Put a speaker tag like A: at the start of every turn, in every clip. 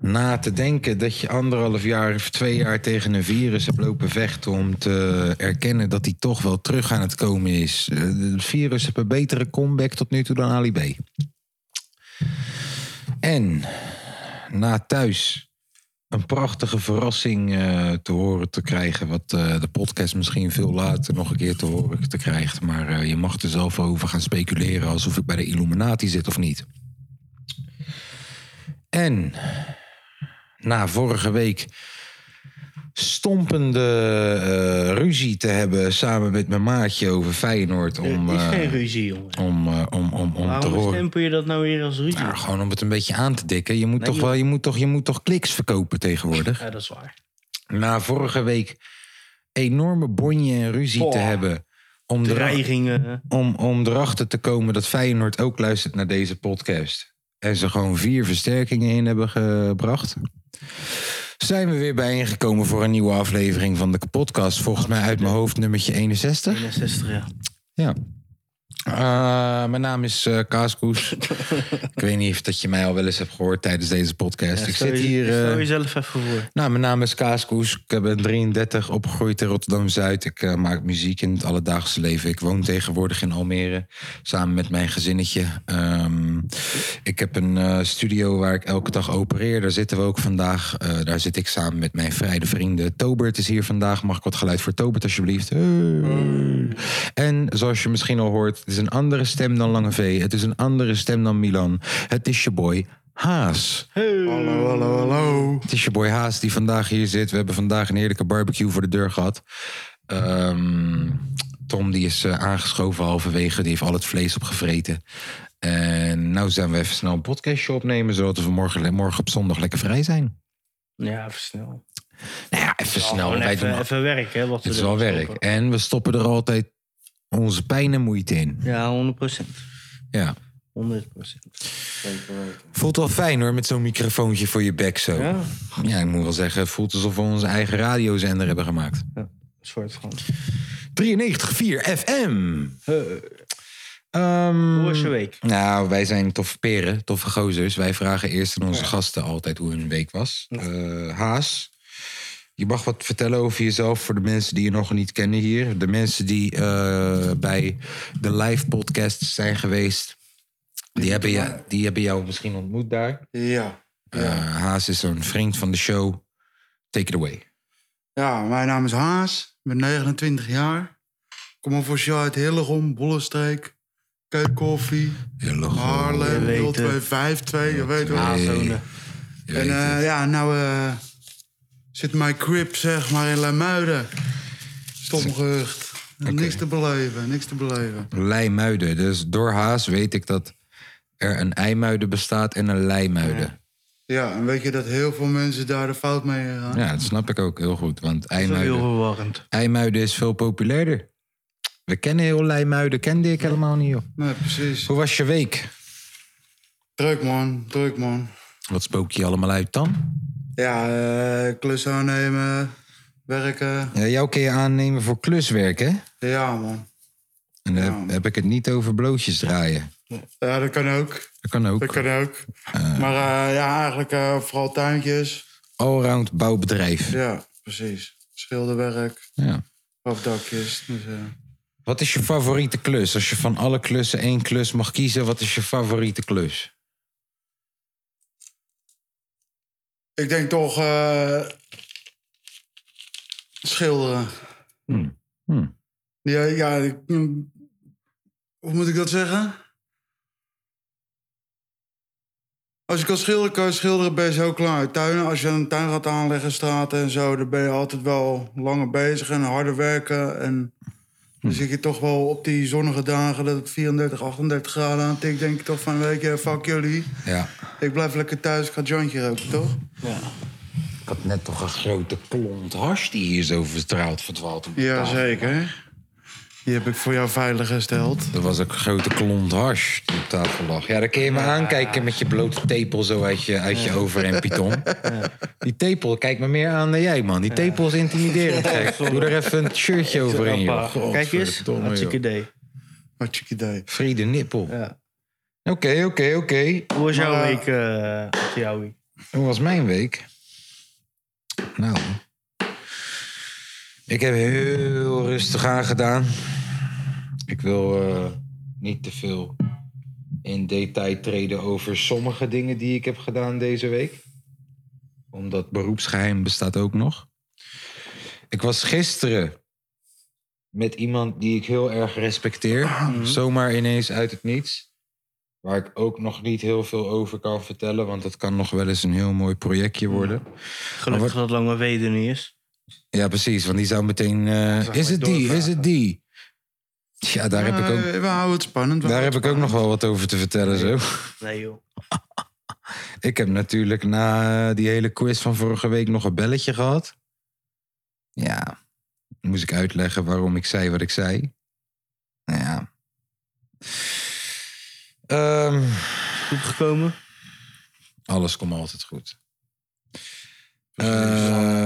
A: Na te denken dat je anderhalf jaar of twee jaar tegen een virus hebt lopen vechten om te erkennen dat hij toch wel terug aan het komen is. Eh, Het virus heeft een betere comeback tot nu toe dan Ali B. En na thuis een prachtige verrassing eh, te horen te krijgen, wat eh, de podcast misschien veel later nog een keer te horen te krijgt. Maar eh, je mag er zelf over gaan speculeren alsof ik bij de Illuminati zit of niet. En na vorige week stompende eh, ruzie te hebben samen met mijn maatje over Feyenoord. Om,
B: Het is
A: eh,
B: geen ruzie, jongen.
A: om, eh, om, om, om te
B: Waarom
A: horen.
B: stempel je dat nou weer als ruzie?
A: Nou, gewoon om het een beetje aan te dikken. Je moet,
B: Nee,
A: toch,
B: joh.
A: wel, je moet, toch, je moet toch kliks verkopen tegenwoordig.
B: Ja, dat is waar.
A: Na vorige week enorme bonje en ruzie te
B: Oh.
A: hebben. Om, er,
B: Dreigingen.
A: om, om erachter te komen dat Feyenoord ook luistert naar deze podcast. En ze gewoon vier versterkingen in hebben gebracht. Zijn we weer bijeengekomen voor een nieuwe aflevering van de podcast. Volgens mij uit mijn hoofd nummertje 61.
B: 61, ja.
A: Ja. Eh, mijn naam is eh Kaaskoes. ik weet niet of dat je mij al wel eens hebt gehoord tijdens deze podcast. ik
B: stel
A: zit
B: je-
A: hier. eh,
B: Stel jezelf even voor.
A: nou, mijn naam is Kaaskoes. Ik eh, ben 33, opgegroeid in Rotterdam-Zuid. Ik eh, maak muziek in het alledaagse leven. Ik woon tegenwoordig in Almere, samen met mijn gezinnetje. Ehm, ik heb een eh, studio waar ik elke dag opereer. Daar zitten we ook vandaag. Eh, daar zit ik samen met mijn vrije vrienden. Tobert is hier vandaag. Mag ik wat geluid voor Tobert, alsjeblieft? Hey. En zoals je misschien al hoort, het is een andere stem dan Lange V. Het is een andere stem dan Milan. Het is je boy Haas. Het is je boy Haas die vandaag hier zit. We hebben vandaag een heerlijke barbecue voor de deur gehad. Ehm, Tom die is eh, aangeschoven halverwege. Die heeft al het vlees opgevreten. En nou zijn we even snel een podcastje opnemen... zodat we morgen, morgen op zondag lekker vrij zijn.
B: Ja, even snel.
A: Nou ja, even
B: Ja,
A: snel.
B: gewoon
A: Wij doen
B: even,
A: al-
B: even werk, hè. Wat
A: het is
B: we
A: wel
B: erin
A: werk.
B: stoppen.
A: En we stoppen er altijd onze pijn en moeite in.
B: Ja, 100%.
A: Ja.
B: 100%.
A: Voelt wel fijn hoor, met zo'n microfoontje voor je bek zo. Ja,
B: Ja, een
A: ik moet wel zeggen, het voelt alsof we onze eigen radiozender hebben gemaakt.
B: soort van.
A: 93.4 FM.
B: Hey.
A: Ehm,
B: Hoe was je week?
A: Nou, wij zijn toffe peren, toffe gozers. Wij vragen eerst aan onze gasten altijd hoe hun week was. Eh, Haas, je mag wat vertellen over jezelf voor de mensen die je nog niet kennen hier. De mensen die eh, bij de live podcast zijn geweest, die hebben, jou, die hebben jou misschien ontmoet daar.
C: Ja.
A: Eh, Haas is een vriend van de show. Take it away.
C: ja, mijn naam is Haas. Ik ben 29 jaar. Kom officieel uit Hillegom, Bollenstreek. Keukenkoffie,
B: je
C: Haarlem,
B: weet het.
C: 0252, je weet wel.
A: Hey,
B: Hazone.
A: je
C: En
A: weet
C: eh,
A: het.
C: ja, nou eh, zit mijn crib zeg maar in Leimuiden. Stomgehucht. Niks te beleven, niks te beleven.
A: Leimuiden. Dus door Haas weet ik dat er een IJmuiden bestaat en een Leimuiden.
C: Ja, en weet je dat heel veel mensen daar de fout mee gaan?
A: Ja, dat snap ik ook heel goed. Want
B: Zo heel
A: IJmuiden,
B: verwarrend.
A: IJmuiden is veel populairder. We kennen heel Leimuiden, kende ik helemaal niet. Joh.
C: Nee, precies.
A: Hoe was je week?
C: Druk man, druk man.
A: Wat spook je allemaal uit dan?
C: Ja, eh klus aannemen, werken.
A: Ja, Eh, jou kun je aannemen voor kluswerk, hè?
C: Ja man.
A: En dan heb, heb ik het niet over blootjes draaien.
C: Ja, dat kan ook.
A: Dat kan ook.
C: Dat kan ook. Maar eh, ja, eigenlijk eh, vooral tuintjes.
A: Allround bouwbedrijf.
C: Ja, precies. Schilderwerk,
A: Ja.
C: afdakjes. Dus, eh,
A: Wat is je favoriete klus? Als je van alle klussen één klus mag kiezen, wat is je favoriete klus?
C: ik denk toch eh, schilderen.
A: Hmm. Hmm.
C: Ja, ja ik- mm, hoe moet ik dat zeggen? Als je kan schilderen, kan je schilderen, ben je zo klaar. Tuinen, als je een tuin gaat aanleggen, straten en zo, dan ben je altijd wel langer bezig en harder werken. En
A: Hmm.
C: Dan zit je toch wel op die zonnige dagen dat het 34, 38 graden aantikt. Denk ik toch van, weet je, fuck jullie.
A: Ja.
C: Ik blijf lekker thuis, ik ga jointje roken, toch?
A: Ik had net toch een grote klont hash die hier zo vertrouwd verdwaald op de
C: Ja,
A: tafel.
C: zeker. Die heb ik voor jou veilig gesteld.
A: Er was ook een grote klont hash die op tafel lag. Ja, dan kun je me aankijken met je blote tepel zo uit je, uit je over en python. Die tepel kijkt me meer aan dan jij, man. Die tepel is intimiderend. gek. Doe er even een shirtje overheen, joh.
B: Appa, Kijk eens,
A: Godverdomme,
B: hartstikke
A: joh.
B: idee.
C: Wat je idee.
A: Vrede nippel.
B: Ja.
A: Oké, oké, oké.
B: Hoe was jouw
C: Maar, eh,
B: week, eh, Artie Jouwie?
A: Hoe was mijn week? Nou, ik heb heel rustig aangedaan. Ik wil eh, niet te veel in detail treden over sommige dingen die ik heb gedaan deze week. Omdat beroepsgeheim bestaat ook nog. Ik was gisteren met iemand die ik heel erg respecteer.
B: Mhm.
A: Zomaar ineens uit het niets. Waar ik ook nog niet heel veel over kan vertellen, want dat kan nog wel eens een heel mooi projectje worden.
B: Mhm. Gelukkig dat Lange W er niet is.
A: Ja, precies, want die zou meteen. eh, is het die? Is het die? Ja, daar heb ik ook,
C: Eh,
B: eh,
C: we houden het spannend. we
A: daar heb
C: houden
A: ik ook nog wel wat over te vertellen. Zo.
B: Nee joh.
A: Ik heb natuurlijk na eh, die hele quiz van vorige week nog een belletje gehad. Ja, moest ik uitleggen waarom ik zei wat ik zei. Nou ja. Ehm,
B: Goed gekomen.
A: Alles komt altijd goed.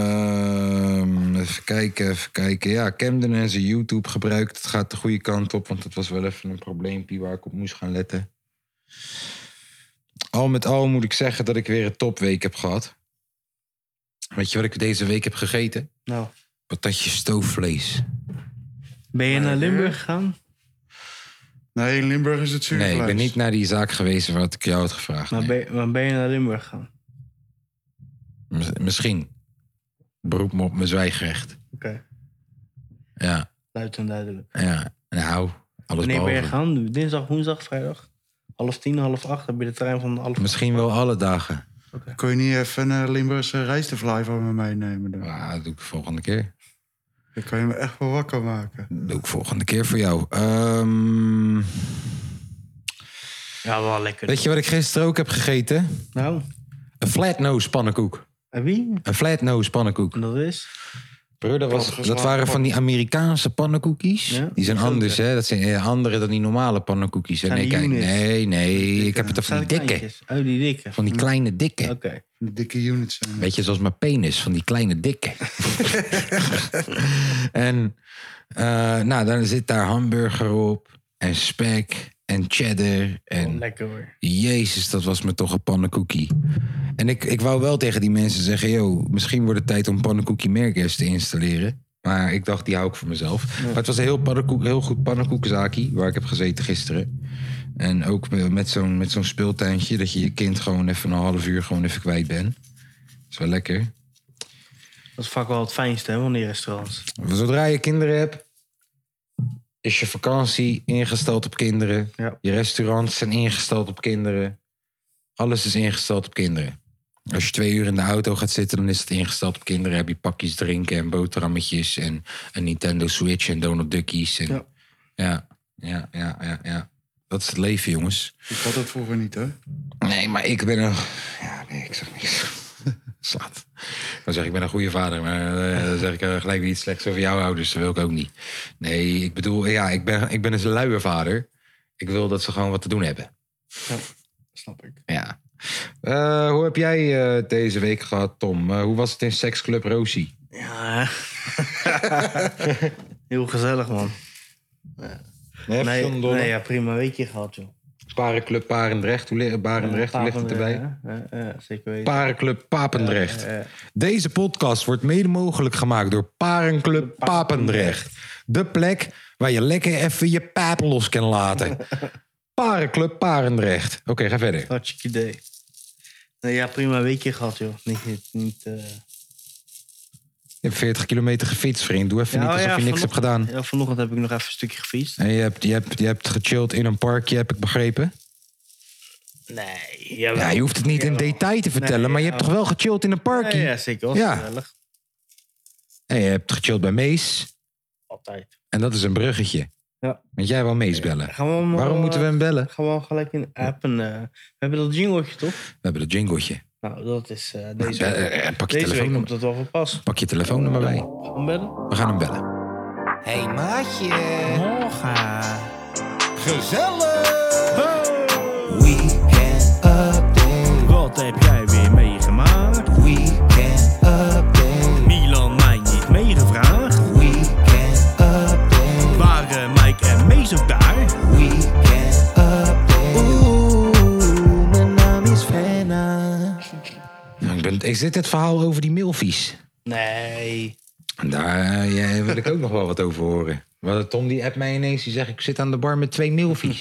A: Ehm, even kijken, even kijken. Ja, Camden en zijn YouTube gebruikt. Het gaat de goede kant op, want het was wel even een probleempje waar ik op moest gaan letten. Al met al moet ik zeggen dat ik weer een topweek heb gehad. Weet je wat ik deze week heb gegeten?
B: Nou,
A: Patatje stoofvlees.
B: ben je naar Limburg gegaan?
C: het- Nee, in Limburg is het zuurvlees.
A: Nee, ik ben niet naar die zaak geweest waar ik jou had gevraagd.
B: Maar
A: nee.
B: ben, je- maar ben je naar Limburg gegaan?
A: Mis- Misschien. Beroep me op mijn zwijgrecht.
B: Oké,
A: Ja.
B: luid en duidelijk.
A: Ja, nou, alles
B: Wanneer ben je
A: behalve.
B: gegaan? Dinsdag, woensdag, vrijdag? Half tien, half acht, heb je de trein van half
A: Misschien wel alle dagen.
C: Kun je niet even een Limburgse rijstevlaai voor me meenemen? Dan?
A: Ja, dat doe ik volgende keer.
C: dan kan je me echt wel wakker maken.
A: Dat doe ik volgende keer voor jou. Ehm,
B: Ja, wel lekker.
A: weet je wat ik gisteren ook heb gegeten?
B: Nou,
A: Een flatnose pannenkoek.
B: en wie?
A: Een flatnose pannenkoek.
B: En dat is?
A: Broer, dat, was, dat waren van die Amerikaanse pannenkoekjes.
B: Ja,
A: die zijn
B: die
A: anders,
B: grote.
A: hè? Dat zijn eh, andere dan die normale pannenkoekjes. En
B: Zijn
A: ik
B: die
A: kijk,
B: units?
A: nee, nee, ik heb het er van die dikke.
B: Kleintjes. Oh, die dikke.
A: Van die kleine dikke.
B: Oké.
C: Die dikke units zijn.
A: Weet je, zoals mijn penis, van die kleine dikke. en eh, nou, dan zit daar hamburger op en spek en cheddar.
B: Oh,
A: En
B: Lekker hoor.
A: jezus, dat was me toch een pannenkoekie. En ik, ik wou wel tegen die mensen zeggen... yo, misschien wordt het tijd om pannenkoekie merkers te installeren. Maar ik dacht, die hou ik voor mezelf. Maar het was een heel, pannenkoek, heel goed pannenkoekzaakje waar ik heb gezeten gisteren. En ook me- met zo'n, met zo'n speeltuintje... dat je je kind gewoon even een half uur gewoon even kwijt bent. is wel lekker.
B: Dat is vaak wel het fijnste hè, van die restaurants.
A: Zodra je kinderen hebt, is je vakantie ingesteld op kinderen.
B: Ja.
A: Je restaurants zijn ingesteld op kinderen. Alles is ingesteld op kinderen. Als je twee uur in de auto gaat zitten, dan is het ingesteld op kinderen. Heb je pakjes drinken en boterhammetjes en een Nintendo Switch en Donald Duckies. En... Ja.
B: Ja.
A: Ja, ja, ja, ja, Dat is het leven, jongens.
C: Ik had dat vroeger niet, hè?
A: Nee, maar ik ben een... Ja, nee, ik zeg niks. Slaat. Dan zeg ik, ik ben een goede vader. Maar eh, dan zeg ik eh, gelijk weer iets slechts over jouw ouders. Dat wil ik ook niet. Nee, ik bedoel, ja, ik ben, ik ben een luie vader. Ik wil dat ze gewoon wat te doen hebben.
B: Snap ik.
A: Ja. Eh, hoe heb jij eh, deze week gehad, Tom? Eh, hoe was het in Seksclub Rosie?
B: Ja. Heel gezellig man.
A: Nee,
B: Nee, nee ja, prima weekje gehad joh.
A: Parenclub Parendrecht. Hoe, li- Barendrecht, hoe ligt het erbij?
B: Ja, ja, ja, zeker weten.
A: Parenclub Papendrecht.
B: Ja, ja.
A: Deze podcast wordt mede mogelijk gemaakt door Parenclub Papendrecht. De plek waar je lekker even je pijp los kan laten. Parenclub Parendrecht. Oké, ga verder.
B: Hartstikke idee. Nee, ja, prima weekje gehad joh. Niet, niet, niet, eh,
A: Je hebt 40 kilometer gefietst, vriend. Doe even
B: Ja,
A: niet
B: oh
A: alsof
B: ja,
A: je niks hebt
B: vanochtend-
A: gedaan.
B: Ja, vanochtend heb ik nog even een stukje gefietst.
A: En je hebt, je, hebt, je hebt gechilled in een parkje, heb ik begrepen.
B: Nee, jawel.
A: Ja, je hoeft het niet in
B: Jawel.
A: detail te vertellen,
B: Nee,
A: maar je
B: ja.
A: hebt toch wel gechilled in een parkje?
B: Ja, ja, zeker. Was
A: Ja.
B: Gezellig.
A: En je hebt gechilled bij Mees.
B: Altijd.
A: En dat is een bruggetje.
B: Ja.
A: Want jij wil meesbellen.
B: Gaan we hem,
A: Waarom
B: eh,
A: moeten we hem bellen?
B: Gaan we hem gelijk in appen. eh. we hebben dat jingletje, toch?
A: We hebben dat jingletje.
B: Nou, dat is eh,
A: Nou,
B: deze
A: eh,
B: week.
A: eh, pak
B: Deze
A: je
B: week
A: telefoonnummer.
B: komt dat wel van pas.
A: Pak je telefoonnummer bij.
B: Gaan we bellen?
A: We gaan hem bellen.
D: Hey maatje,
B: Morgen.
D: gezellig. Weekend update,
B: Wat heb jij weer meegemaakt?
D: weekend update,
B: Milan mij niet meegevraagd.
D: weekend update,
B: Waren Mike en Mees ook daar?
D: weekend update. Oeh, mijn naam is Frenna.
A: Nou, ik ben, is dit het verhaal over die milfies?
B: Nee.
A: En Daar eh, ja, wil ik ook nog wel wat over horen. Want Tom die appt mij ineens, die zegt ik zit aan de bar met twee milfies.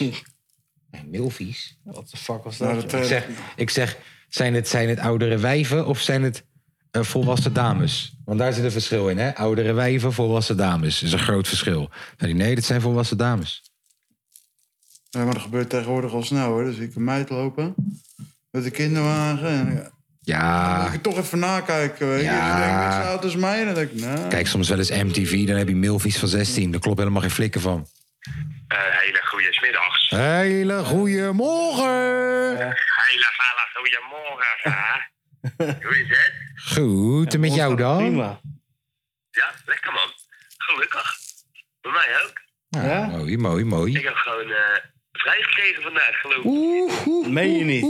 A: Nee, milfies?
B: What the fuck was
C: Nou,
B: dat?
C: dat,
B: joh?
C: eh,
A: Ik zeg, ik zeg zijn, het, zijn het oudere wijven of zijn het eh, volwassen dames? Want daar zit een verschil in, hè? Oudere wijven, volwassen dames. is een groot verschil. Zei hij, nee, dit zijn volwassen dames.
C: Nee, maar dat gebeurt tegenwoordig al snel hoor. Dus ik een meid lopen met een kinderwagen. En dan moet
A: Ja,
C: ik toch even nakijken. Weet je.
A: Ja.
C: En dan denk ik, zo oud als mij. En dan denk ik, nou.
A: kijk soms wel eens MTV, dan heb je milfies van 16. Daar klopt helemaal geen flikken van.
E: Eh, hele goede smiddags.
A: Hele goeiemorgen!
E: Hele felle goeiemorgen, hè. Hoe is het?
A: Goed, en met jou dan?
B: Prima.
E: Ja, lekker man. Gelukkig. Bij mij ook.
B: Ja?
A: Ah, Mooi, mooi, mooi.
E: Ik heb gewoon eh, vrij gekregen vandaag, geloof ik.
A: Oeh, oeh,
B: Meen je niet?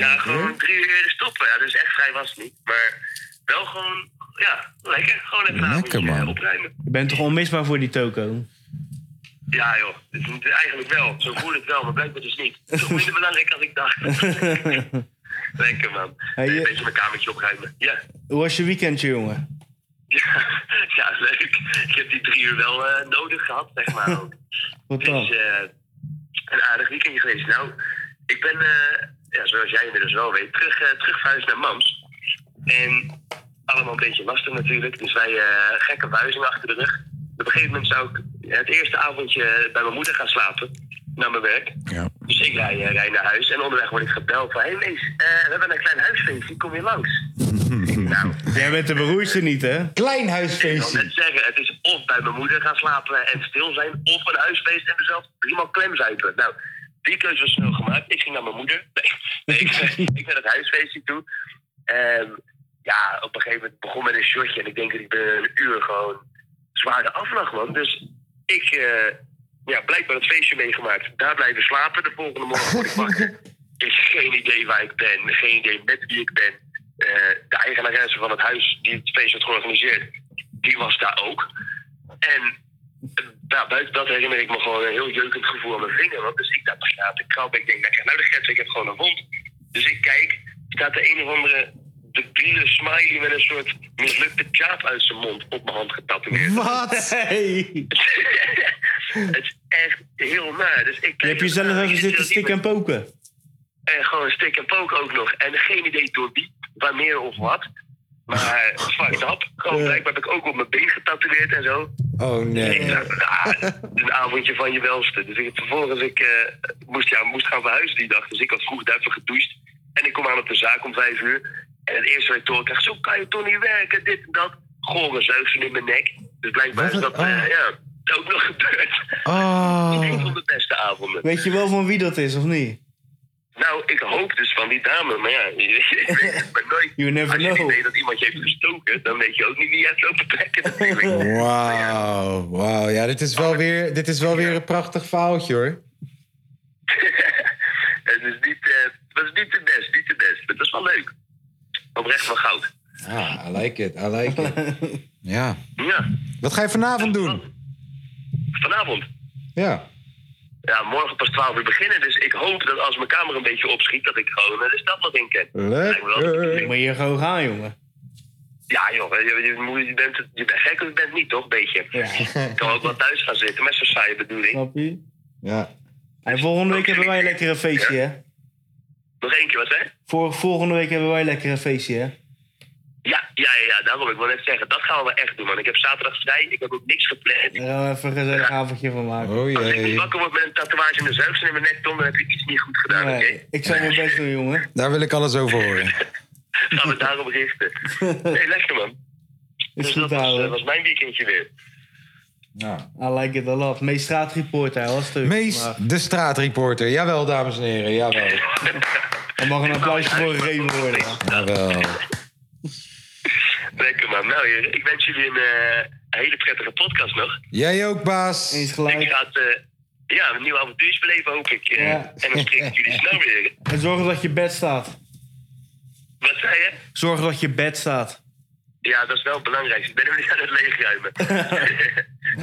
E: Ja, gewoon drie uur eerder stoppen. Ja, dus echt vrij was het niet. Maar wel gewoon, ja, lekker. Gewoon even een
A: Lekker,
E: avondje,
A: man.
E: eh, opruimen.
B: Je bent toch onmisbaar voor die toko?
E: Ja joh, dus het is eigenlijk wel. Zo voelt het wel, maar blijkbaar dus niet. Toch minder belangrijk als ik dacht. lekker man.
B: Hey, je-
E: Een beetje mijn kamertje opruimen. Ja.
B: Hoe was je weekendje, jongen?
E: Ja, ja, leuk. Ik heb die drie uur wel eh, nodig gehad, zeg maar. ook.
B: Wat
E: Het is
B: dan?
E: eh, een aardig weekendje geweest. Nou, ik ben, eh, ja, zoals jij inmiddels wel weet, terug, eh terugverhuisd naar Mams. En allemaal een beetje lastig natuurlijk. Dus wij eh, gekke buizing achter de rug. Op een gegeven moment zou ik het eerste avondje bij mijn moeder gaan slapen. Naar mijn werk.
A: Ja.
E: Dus ik rij, eh, rij naar huis en onderweg word ik gebeld van... Hé hey, Mees, eh, we hebben een klein huisfeestje, kom je langs? Ik denk, nou,
B: Jij bent de beroerdste niet, hè?
A: Klein
E: ik wil net
A: huisfeestje.
E: zeggen, het is of bij mijn moeder gaan slapen en stil zijn, of een huisfeest en mezelf helemaal klemzuipen. Nou, die keuze was snel gemaakt. Ik ging naar mijn moeder. Nee, nee, ik, ik naar het huisfeestje toe. Ehm, ja, op een gegeven moment begon met een shotje en ik denk dat ik binnen een uur gewoon zwaar de aflag man. Dus ik, eh ja, blijkbaar het feestje meegemaakt. Daar blijven slapen. De volgende morgen word ik wakker. Dus geen idee waar ik ben, geen idee met wie ik ben. Eh, de eigenaresse van het huis die het feest had georganiseerd, die was daar ook. En eh, nou, buiten dat herinner ik me gewoon een heel jeukend gevoel aan mijn vinger. Want dus ik dacht, ja, de krab, ik denk, lekker, nou de gets, ik heb gewoon een wond. Dus ik kijk, staat de een of andere debiele smiley met een soort mislukte jaap uit zijn mond op mijn hand getatoeëerd.
A: Wat?
B: Hey.
E: het is echt heel naar. Dus ik kijk
B: Je hebt
E: ernaar,
B: jezelf
E: ik
B: even
E: zit
B: zitten
E: heel diep
B: stikken en poken.
E: en gewoon stik en pook ook nog. En geen idee door wie, wanneer of wat. Maar fucked up. Gewoon blijkbaar heb ik ook op mijn been getatoeëerd en zo.
A: Oh
E: Ik
A: nee.
E: dacht, ah, een avondje van je welste. Dus ik, vervolgens ik, eh, moest, ja, moest gaan verhuizen die dag. Dus ik had vroeg daarvoor gedoucht. En ik kom aan op de zaak om vijf uur. En het eerste wat ik door krijg, zo kan je toch niet werken, dit en dat. Gore zuigsel in mijn nek. Dus blijkbaar is
A: Wat een-
E: dat, eh,
A: oh.
E: ja, ook nog gebeurd. Een
A: Oh.
E: van de beste avonden.
B: Weet je wel van wie dat is, of niet?
E: Nou, ik hoop dus van die dame, maar ja, ik weet het maar nooit.
B: You never
E: Als je
B: know.
E: niet weet dat iemand je heeft gestoken, dan weet je ook niet wie je hebt lopen trekken natuurlijk.
A: Wauw, wauw. Ja, dit is, wel weer, dit is wel weer een prachtig verhaaltje hoor.
E: het is niet, eh, het was niet de best, niet de best. Maar het was wel leuk. Oprecht van goud.
A: Ah, I like it, I like it. Ja.
E: Ja,
A: Wat ga je vanavond doen?
E: vanavond.
A: Ja.
E: Ja, morgen pas 12 uur beginnen, dus ik hoop dat als mijn kamer een beetje opschiet, dat ik gewoon eh, de stad nog in ken. Lijkt me wel.
A: Lekker.
B: Moet je gewoon gaan, jongen.
E: Ja joh, je, je, moet- je bent, je bent gek of je bent niet toch, beetje. Ik kan ook wel thuis gaan zitten met zo'n saaie bedoeling.
B: Snap je?
A: Ja.
B: En volgende week hebben wij lekker een feestje, hè?
E: Nog één keer wat hè?
B: Vor- volgende week hebben wij lekker een feestje, hè?
E: Ja, ja, ja, ja, daarom. Ik wil net zeggen, dat gaan we wel echt doen, man. Ik heb zaterdag vrij, ik heb ook niks gepland.
B: Daar gaan we even een gezellig avondje van maken.
A: Oh
E: Als ik dus
A: jee.
E: wakker word met een tatoeage in de zuigsel in mijn nek, Tom, dan heb je iets niet goed gedaan, oké?
B: Nee, ik zal mijn best doen, jongen.
A: Daar wil ik alles over horen.
E: Gaan we daarop richten. Nee, lekker, man.
B: Is
E: Dus
B: goed,
E: dat was, eh,
B: houden.
E: was mijn weekendje weer.
A: Ja.
B: I like it a lot. Meest straatreporter, hij was het ook.
A: Mees,
B: Maar
A: de straatreporter. Jawel, dames en heren. Jawel.
B: er mag een applausje voor gegeven worden. ja.
A: Jawel.
E: Lekker man. Nou, heren, ik wens jullie een eh, hele prettige podcast nog.
A: Jij ook,
B: Eens
A: baas.
E: En ik
B: gelijk.
E: ga het, eh, ja, een nieuw avontuur beleven, hoop ik. eh.
B: Ja.
E: En dan spreek ik jullie snel weer.
B: En zorg dat je bed staat.
E: Wat zei je?
B: Zorg dat je bed staat.
E: Ja, dat is wel het belangrijkste. Ik ben hem niet aan het leegruimen.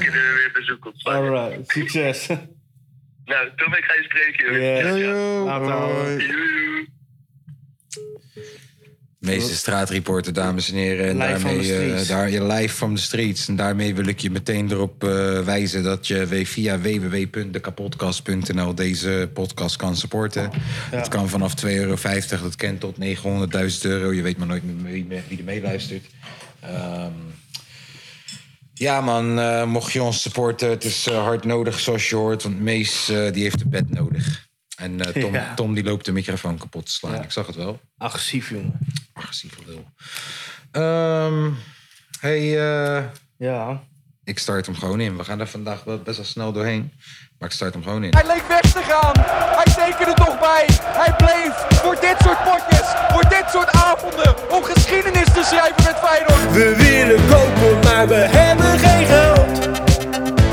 E: Kunnen we weer bezoek ontvangen.
B: Alright, succes.
E: Nou, Tom, ik ga je spreken. hoor.
B: Yeah.
E: Ja, ja.
B: Later.
C: Hoi.
E: Joe.
A: Mees, de straatreporter, dames en heren. En
B: Live van
A: daarmee,
B: de
A: eh,
B: streets.
A: daar, je live van de streets. En daarmee wil ik je meteen erop eh, wijzen dat je we- via www.dekapotkast.nl deze podcast kan supporten. Dat kan vanaf 2,50 euro, dat kent tot 900.000 euro. Je weet maar nooit wie, wie er meeluistert. Ehm Ja, man, eh, mocht je ons supporten, het is eh, hard nodig zoals je hoort. Want Mees eh, die heeft een bed nodig. En eh, Tom,
B: Ja.
A: Tom die loopt de microfoon kapot te slaan. Ik zag het wel.
B: Agressief, jongen.
A: Agressief lul. Ehm, hey, eh,
B: Ja.
A: ik start hem gewoon in. We gaan er vandaag wel best wel snel doorheen. Maar ik start hem gewoon in.
F: Hij leek weg te gaan. Hij tekende toch bij. Hij bleef voor dit soort potjes, voor dit soort avonden, om geschiedenis te schrijven met Feyenoord.
G: We willen kopen, maar we hebben geen geld.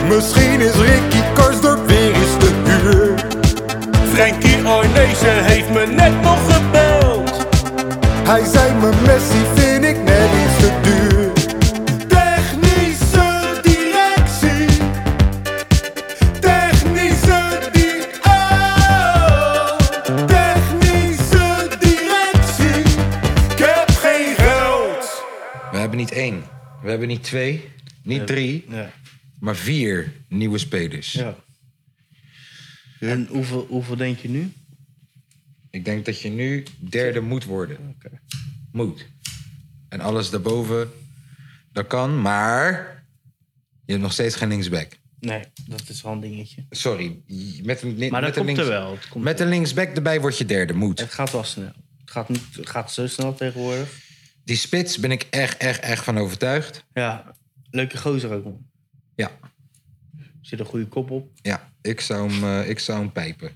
G: Misschien is Ricky Karsdorp weer eens te huur. Frankie Arnezen heeft me net nog gebeld. Hij zei me Messi vind ik net iets te duur. Technische directie. Technische di- oh. Technische directie. Ik heb geen geld.
A: We hebben niet één. We hebben niet twee. Niet drie.
B: Ja.
A: Maar vier nieuwe spelers.
B: ja. En hoeveel, hoeveel denk je nu?
A: Ik denk dat je nu derde moet worden. Moet. En alles daarboven, dat kan. Maar je hebt nog steeds geen linksback.
B: Nee, dat is wel een dingetje.
A: Sorry. je- Met een,
B: Maar
A: met
B: dat
A: een
B: komt
A: links-
B: er wel. Het, komt
A: Met
B: er
A: een linksback erbij word je derde. Moet.
B: wel. het gaat wel snel. Het gaat, niet, het gaat zo snel tegenwoordig.
A: Die spits ben ik echt, echt, echt van overtuigd.
B: Ja, leuke gozer ook. man.
A: Ja,
B: Zit een goede kop op.
A: ja. Ik, zou hem, eh, ik zou hem pijpen.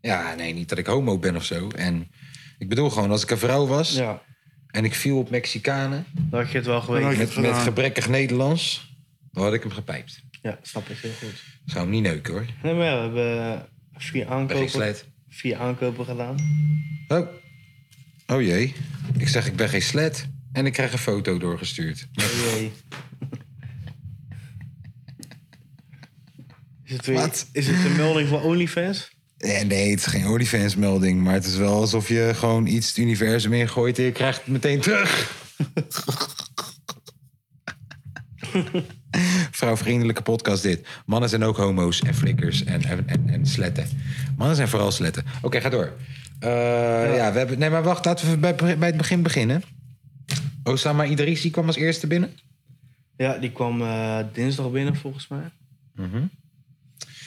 A: ja, nee, niet dat ik homo ben of zo. En ik bedoel gewoon, als ik een vrouw was
B: Ja,
A: en ik viel op Mexicanen
B: dan had je het wel
C: Dan
B: geweten.
C: had je-
A: met, met gebrekkig Nederlands, dan had ik hem gepijpt.
B: Ja, snap ik heel goed.
A: Zou hem niet neuken hoor.
B: Nee, maar ja, we hebben eh, vier
A: Ben geen
B: aankopen,
A: slet.
B: vier aankopen gedaan.
A: Oh. oh jee. Ik zeg ik ben geen slet. En ik krijg een foto doorgestuurd.
B: Oh jee. Is het, weer,
A: Wat?
B: is het een melding voor OnlyFans?
A: Nee, Eh, nee, het is geen OnlyFans melding. Maar het is wel alsof je gewoon iets het universum ingooit en je krijgt het meteen terug. Vrouwvriendelijke podcast dit. Mannen zijn ook homo's en flikkers en, en, en, en sletten. Mannen zijn vooral sletten. Oké, ga door. Eh, ja. we hebben... Nee, maar wacht, laten we bij, bij het begin beginnen. Osama Idrisi kwam als eerste binnen.
B: Ja, die kwam eh, dinsdag binnen volgens mij.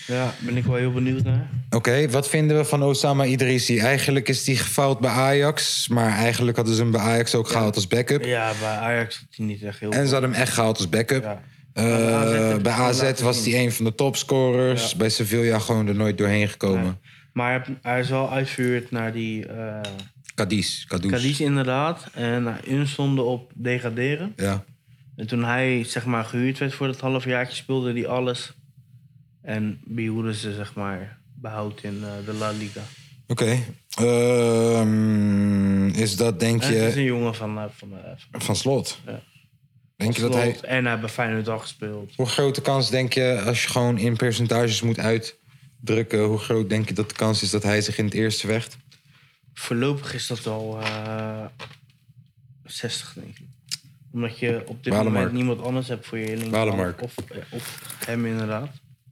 B: Ja, ben ik wel heel benieuwd naar.
A: Oké, wat vinden we van Osama Idrisi? Eigenlijk is die gefaald bij Ajax. Maar eigenlijk hadden ze hem bij Ajax ook gehaald als backup.
B: Ja, bij Ajax had hij niet echt heel
A: En ze hadden hem echt gehaald als backup.
B: Ja.
A: Eh,
B: Bij AZ heb je
A: bij
B: het gewoon
A: AZ
B: laten
A: was
B: zien.
A: hij een van de topscorers. Bij Sevilla gewoon er nooit doorheen gekomen.
B: Maar hij is wel uitgehuurd naar die eh
A: Cadiz, Cadiz.
B: Cadiz inderdaad. En naar hun stonden op degraderen.
A: Ja.
B: En toen hij zeg maar gehuurd werd voor dat halfjaartje speelde hij alles. En behielden ze zeg maar behoud in eh, de La Liga.
A: Oké. Ehm, is dat denk
B: En het is een
A: je
B: jongen van... eh, van, eh, van
A: van slot?
B: Ja.
A: Denk je dat
B: Slot.
A: hij?
B: En hij heeft bij Feyenoord al gespeeld.
A: Hoe grote kans denk je als je gewoon in percentages moet uitdrukken? Hoe groot denk je dat de kans is dat hij zich in het eerste vecht?
B: Voorlopig is dat al eh, 60, denk ik. Omdat je op dit
A: Walemark.
B: moment niemand anders hebt voor je linkerhand.
A: Walemark.
B: Of, eh, of hem inderdaad.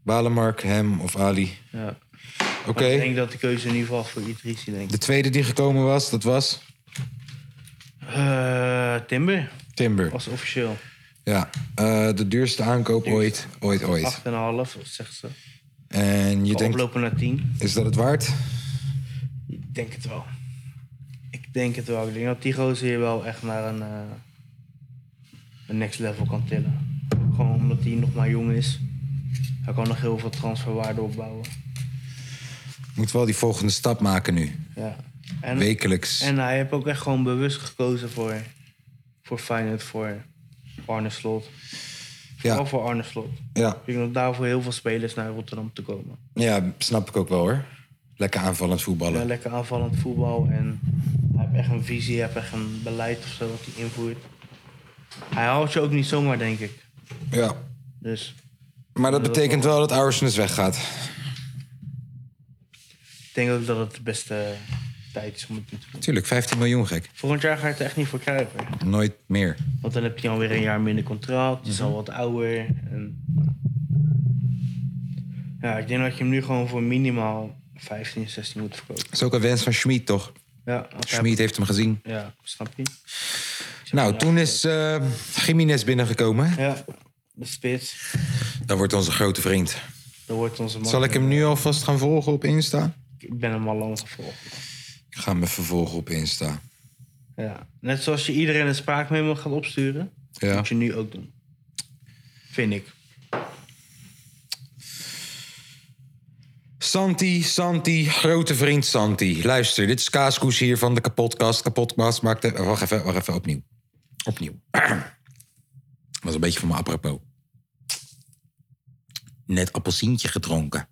A: Balemark, hem of Ali?
B: Ja.
A: Oké.
B: Maar Ik denk dat de keuze in ieder geval voor Idrissi, denk
A: De
B: ik.
A: tweede die gekomen was, dat was
B: Eh, Timber
A: Timber.
B: was officieel.
A: Ja, eh, de duurste aankoop ooit, ooit, ooit.
B: 8,5, zegt ze.
A: En je
B: Ik
A: denkt,
B: Oplopen naar 10.
A: is dat het waard?
B: Ik denk het wel. Ik denk het wel. Ik denk dat die gozer hier wel echt naar een, eh, een next level kan tillen. Gewoon omdat hij nog maar jong is. Hij kan nog heel veel transferwaarde opbouwen.
A: Moet wel die volgende stap maken nu.
B: Ja. En,
A: Wekelijks.
B: en hij heeft ook echt gewoon bewust gekozen voor, voor Feyenoord, voor Arne Slot. Vooral
A: ja,
B: voor Arne Slot.
A: ja,
B: Ik denk dat daarvoor heel veel spelers naar Rotterdam te komen.
A: ja, snap ik ook wel hoor. Lekker aanvallend voetballen.
B: Ja, lekker aanvallend voetbal en hij heeft echt een visie, hij heeft echt een beleid of zo wat hij invoert. Hij haalt je ook niet zomaar, denk ik.
A: Ja.
B: Dus
A: Maar dat betekent wel dat Aursnes weggaat.
B: ik denk ook dat het de beste tijd is om het nu te doen.
A: Tuurlijk, 15 miljoen gek.
B: Volgend jaar ga je het er echt niet voor krijgen.
A: Nooit meer.
B: Want dan heb je alweer een jaar minder contract, je
A: Mhm.
B: is al wat ouder. En... Ja, ik denk dat je hem nu gewoon voor minimaal 15, 16 moet verkopen.
A: Dat is ook een wens van Schmid, toch?
B: Ja, want hij-
A: Schmid heeft hem gezien.
B: Ja, snap je?
A: Nou, toen is eh Jiménez binnengekomen.
B: Ja, de spits.
A: Dat wordt onze grote vriend.
B: Dat wordt onze man.
A: Zal ik hem nu alvast gaan volgen op Insta?
B: Ik ben hem al lang gevolgd.
A: Ik ga hem even volgen op Insta.
B: Ja. Net zoals je iedereen een spraakmemo gaat opsturen,
A: Ja.
B: moet je nu ook doen. Vind ik.
A: Santi, Santi, grote vriend Santi. Luister, dit is Kaaskoes hier van de kapotkast. Kapotkast maakt... de- oh, Wacht even, wacht even, opnieuw. Opnieuw. was een beetje van mijn apropos. Net appelsientje gedronken.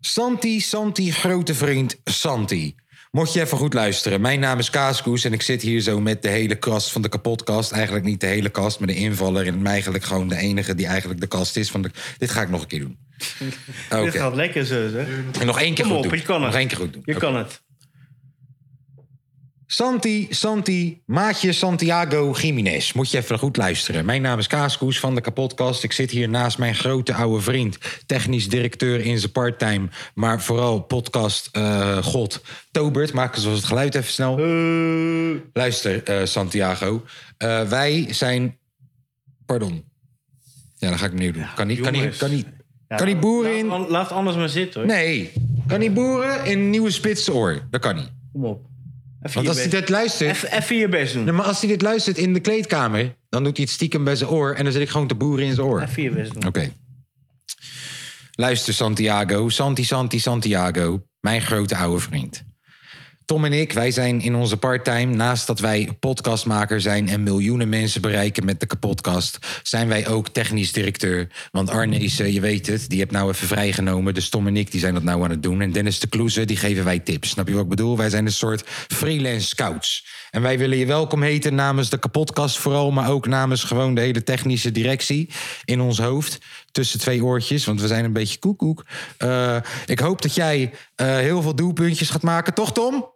A: Santi, Santi, grote vriend Santi. Mocht je even goed luisteren. Mijn naam is Kaaskoes en ik zit hier zo met de hele kast van de kapotkast. Eigenlijk niet de hele kast, maar de invaller. En eigenlijk gewoon de enige die eigenlijk de kast is. Van de... Dit ga ik nog een keer doen. Ah, Oké.
B: Dit gaat lekker zo, zeg.
A: En nog één keer
B: Kom
A: goed
B: op,
A: doen.
B: je kan het.
A: nog één keer goed doen.
B: Je
A: Oké.
B: kan het.
A: Santi, Santi, maatje Santiago Jiménez. Moet je even goed luisteren. Mijn naam is Kaaskoes van de Kapotkast. Ik zit hier naast mijn grote oude vriend. Technisch directeur in zijn parttime. Maar vooral podcast eh, god. Tobert, maak eens het geluid even snel. Luister, eh, Santiago. Eh, wij zijn... Pardon. Ja, dan ga ik opnieuw doen. kan niet, kan niet,
B: jongens.
A: kan niet.
B: Ja,
A: kan niet boeren in...
B: Laat, an- laat anders maar zitten, hoor.
A: Nee, kan niet boeren in nieuwe spitsoor. Dat kan niet.
B: Kom op. Even
A: Want
B: je
A: als hij
B: best-
A: dit luistert...
B: Even, even je best doen.
A: Nee, maar als hij dit luistert in de kleedkamer, dan doet hij het stiekem bij zijn oor en dan zit ik gewoon te boeren in zijn oor. Oké.
B: Even je best doen.
A: Luister, Santiago. Santi, Santi, Santiago. Mijn grote oude vriend. Tom en ik, wij zijn in onze parttime, naast dat wij podcastmaker zijn en miljoenen mensen bereiken met de kapotkast, zijn wij ook technisch directeur. Want Arnezen, je weet het, die heb nou even vrijgenomen. Dus Tom en ik, die zijn dat nou aan het doen. En Dennis de Kloeze, die geven wij tips. Snap je wat ik bedoel? Wij zijn een soort freelance scouts. En wij willen je welkom heten namens de kapotkast vooral, maar ook namens gewoon de hele technische directie in ons hoofd. Tussen twee oortjes, want we zijn een beetje koekoek. Eh, ik hoop dat jij eh, heel veel doelpuntjes gaat maken, toch Tom?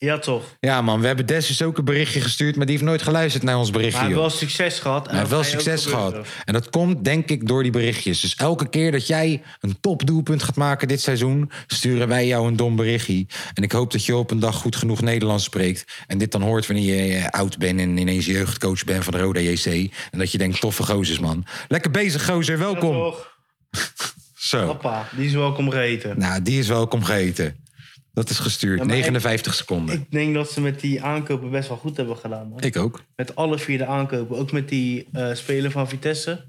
B: Ja, toch.
A: Ja, man, we hebben Des dus ook een berichtje gestuurd, maar die heeft nooit geluisterd naar ons berichtje.
B: Maar hij heeft
A: joh.
B: wel succes gehad. en
A: Hij heeft wel
B: dat ga je ook
A: succes gehad.
B: gebeuren.
A: En dat komt, denk ik, door die berichtjes. Dus elke keer dat jij een topdoelpunt gaat maken dit seizoen, sturen wij jou een dom berichtje. En ik hoop dat je op een dag goed genoeg Nederlands spreekt. En dit dan hoort wanneer je eh, oud bent en ineens jeugdcoach bent van de Roda JC. En dat je denkt, toffe gozers, man. Lekker bezig, gozer.
B: Ja,
A: Welkom. Oh.
B: toch.
A: Zo.
B: Papa, die is welkom geheten.
A: Nou, die is welkom geheten. Dat is gestuurd.
B: Ja, maar ik-
A: 59 seconden.
B: Ik denk dat ze met die aankopen best wel goed hebben gedaan. Man.
A: Ik ook.
B: Met alle vier de aankopen. Ook met die eh, speler van Vitesse.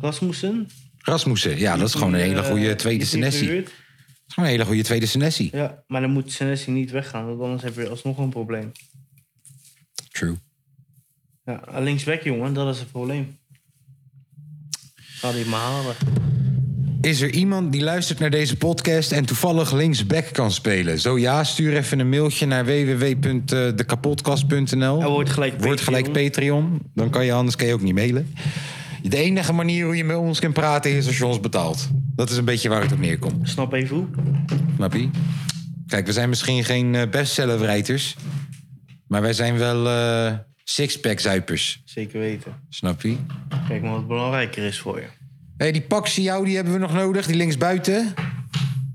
B: Rasmussen.
A: Rasmussen, ja, Oh, dat is gewoon een hele
B: Eh,
A: goede tweede
B: die is niet
A: senessie. Dat
B: verhuurd.
A: is gewoon een hele goede tweede senessie.
B: Ja, maar dan moet Senesi niet weggaan. Want anders heb je alsnog een probleem.
A: True.
B: Ja, een linksback jongen, dat is het probleem. Ga die maar halen.
A: Is er iemand die luistert naar deze podcast en toevallig linksback kan spelen? Zo ja, stuur even een mailtje naar eh, www.dekapotkast.nl.
B: En wordt gelijk
A: Word gelijk
B: Patreon.
A: Patreon. Dan kan je anders kan je ook niet mailen. De enige manier hoe je met ons kan praten is als je ons betaalt. Dat is een beetje waar het op neerkomt.
B: Snap even hoe.
A: Snap je? Kijk, we zijn misschien geen eh, bestsellerwriters. Maar wij zijn wel eh sixpack-zuipers.
B: Zeker weten.
A: Snap je?
B: Kijk maar wat belangrijker is voor je.
A: Hé, hey, die Paxiao, die hebben we nog nodig. Die linksbuiten.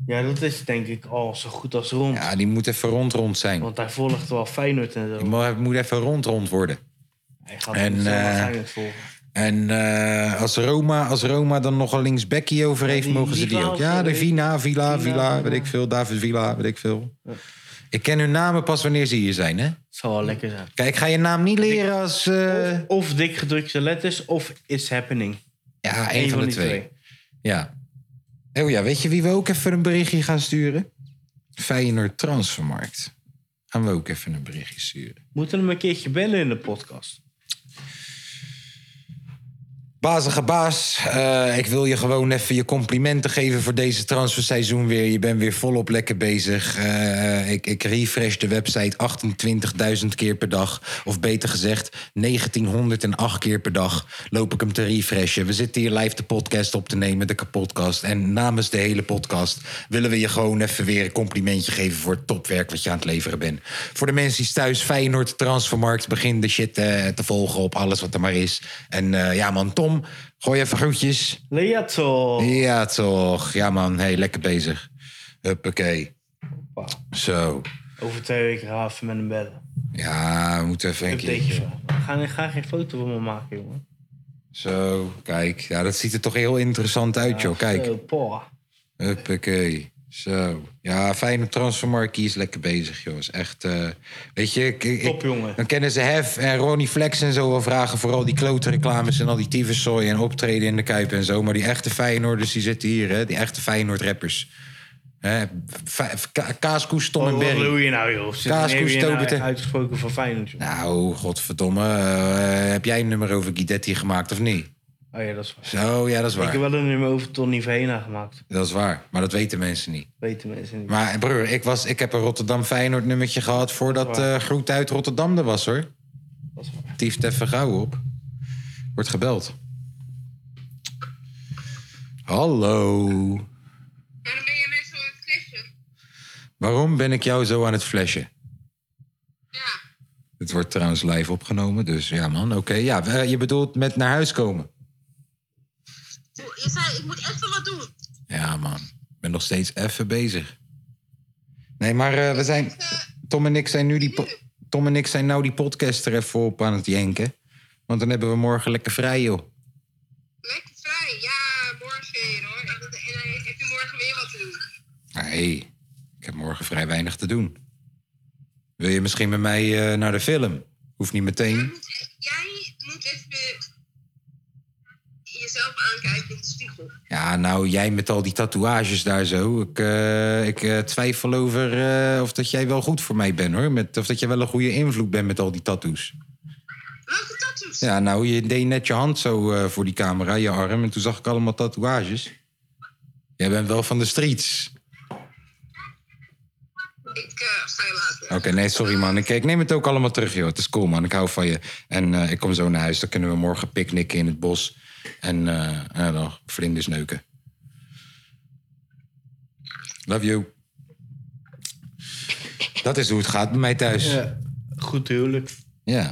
B: Ja, dat is denk ik al zo goed als rond.
A: Ja, die moet even rond-rond zijn.
B: Want hij volgt wel Feyenoord en
A: Die
B: zo.
A: mo- Hij moet even rond-rond worden.
B: Hij gaat
A: En,
B: en,
A: eh,
B: Feyenoord volgen.
A: En eh, als, Roma, als Roma dan nog een linksbekkie over heeft,
B: die
A: mogen ze die
B: Villa
A: ook.
B: of
A: Ja,
B: zo,
A: de
B: weet
A: Vina, Villa,
B: Vina,
A: Villa,
B: Villa.
A: weet ik veel. David Villa, weet ik veel. Ik ken hun namen pas wanneer ze hier zijn, hè?
B: Zal wel lekker zijn.
A: Kijk, ik ga je naam niet leren als... eh,
B: Of, of dik gedrukte letters of is happening.
A: ja,
B: Eén
A: één van de twee. Ja. Oh ja, weet je wie we ook even een berichtje gaan sturen? Feyenoord Transfermarkt. Gaan we ook even een berichtje sturen.
B: Moeten we hem een keertje bellen in de podcast?
A: Bazige baas, eh, ik wil je gewoon even je complimenten geven voor deze transferseizoen weer. Je bent weer volop lekker bezig. Eh, ik, ik refresh de website 28.000 keer per dag. Of beter gezegd, 1908 keer per dag loop ik hem te refreshen. We zitten hier live de podcast op te nemen, de kapotkast. En namens de hele podcast willen we je gewoon even weer een complimentje geven voor het topwerk wat je aan het leveren bent. Voor de mensen die thuis Feyenoord Transfermarkt begin de shit eh, te volgen op alles wat er maar is. En eh, ja man, Tom, gooi even groetjes.
B: Leato.
A: Ja toch, ja man, hey, lekker bezig. Huppakee. Zo,
B: Over twee weken gaan we even met hem bellen.
A: ja, we moeten even een
B: Updateje
A: keer.
B: vragen. Ga, ga geen foto van me maken, jongen.
A: Zo, kijk, ja, dat ziet er toch heel interessant uit joh, kijk.
B: Zo, pa.
A: Huppakee. Zo. Ja, fijne transfermarkt. Die is lekker bezig, joh. Is echt... eh, weet je... Ik, ik-
B: Top, jongen.
A: Dan kennen ze Hef en Ronnie Flex en zo wel vragen... voor al die klote reclames en al die tyfuszooi... en optreden in de Kuip en zo. Maar die echte Feyenoorders, die zitten hier, hè. Die echte Feyenoord-rappers. Hè, fa- ka- Kaaskoes, Tom en
B: Wat
A: Berry.
B: doe je nou, joh? Zit
A: Kaaskoes,
B: er weer nou
A: Tobete.
B: Uitgesproken van Feyenoord, joh.
A: Nou, godverdomme. eh, heb jij een nummer over Guidetti gemaakt of niet?
B: Oh ja, dat is waar.
A: Zo, ja, dat is
B: Ik
A: waar.
B: heb wel een nummer over Tony Vena gemaakt.
A: Dat is waar. Maar dat weten mensen niet.
B: Weten mensen niet.
A: Maar broer, ik, was, ik heb een Rotterdam Feyenoord nummertje gehad voordat eh Groet uit Rotterdam er was hoor.
B: Dat is waar.
A: Tieft even gauw op. Wordt gebeld. Hallo.
H: Waarom ben je mij zo een flesje?
A: Waarom ben ik jou zo aan het flashen?
H: Ja,
A: Het wordt trouwens live opgenomen, dus ja man, oké. Ja, eh, je bedoelt met naar huis komen.
H: je zei, ik moet echt wel wat doen.
A: Ja man, ik ben nog steeds even bezig. Nee, maar eh, we zijn... Tom en ik zijn nu die... po- Tom en ik zijn nou die podcast er even op aan het jenken. Want dan hebben we morgen lekker vrij, joh.
H: Lekker vrij. Ja, morgen weer hoor. En, dan- en dan heb je morgen weer wat te doen.
A: Nee, ik heb morgen vrij weinig te doen. Wil je misschien met mij eh, naar de film? Hoeft niet
H: Jij
A: meteen.
H: moet, e- jij moet even jezelf aankijken in de spiegel.
A: Ja, nou, jij met al die tatoeages daar zo. Ik, eh, ik eh, twijfel over eh, of dat jij wel goed voor mij bent, hoor. Met, of dat jij wel een goede invloed bent met al die tattoos.
H: Welke tattoos?
A: Ja, nou, je deed net je hand zo eh, voor die camera, je arm. En toen zag ik allemaal tatoeages. Jij bent wel van de streets.
H: Ik eh, ga je laten.
A: Oké, nee, sorry man. Ik, ik neem het ook allemaal terug, joh. Het is cool, man. Ik hou van je. En eh, ik kom zo naar huis. Dan kunnen we morgen picknicken in het bos. En eh, nou, dan vlinders neuken. Love you. Dat is hoe het gaat bij mij thuis. Ja.
B: Ja, goed huwelijk.
A: Heb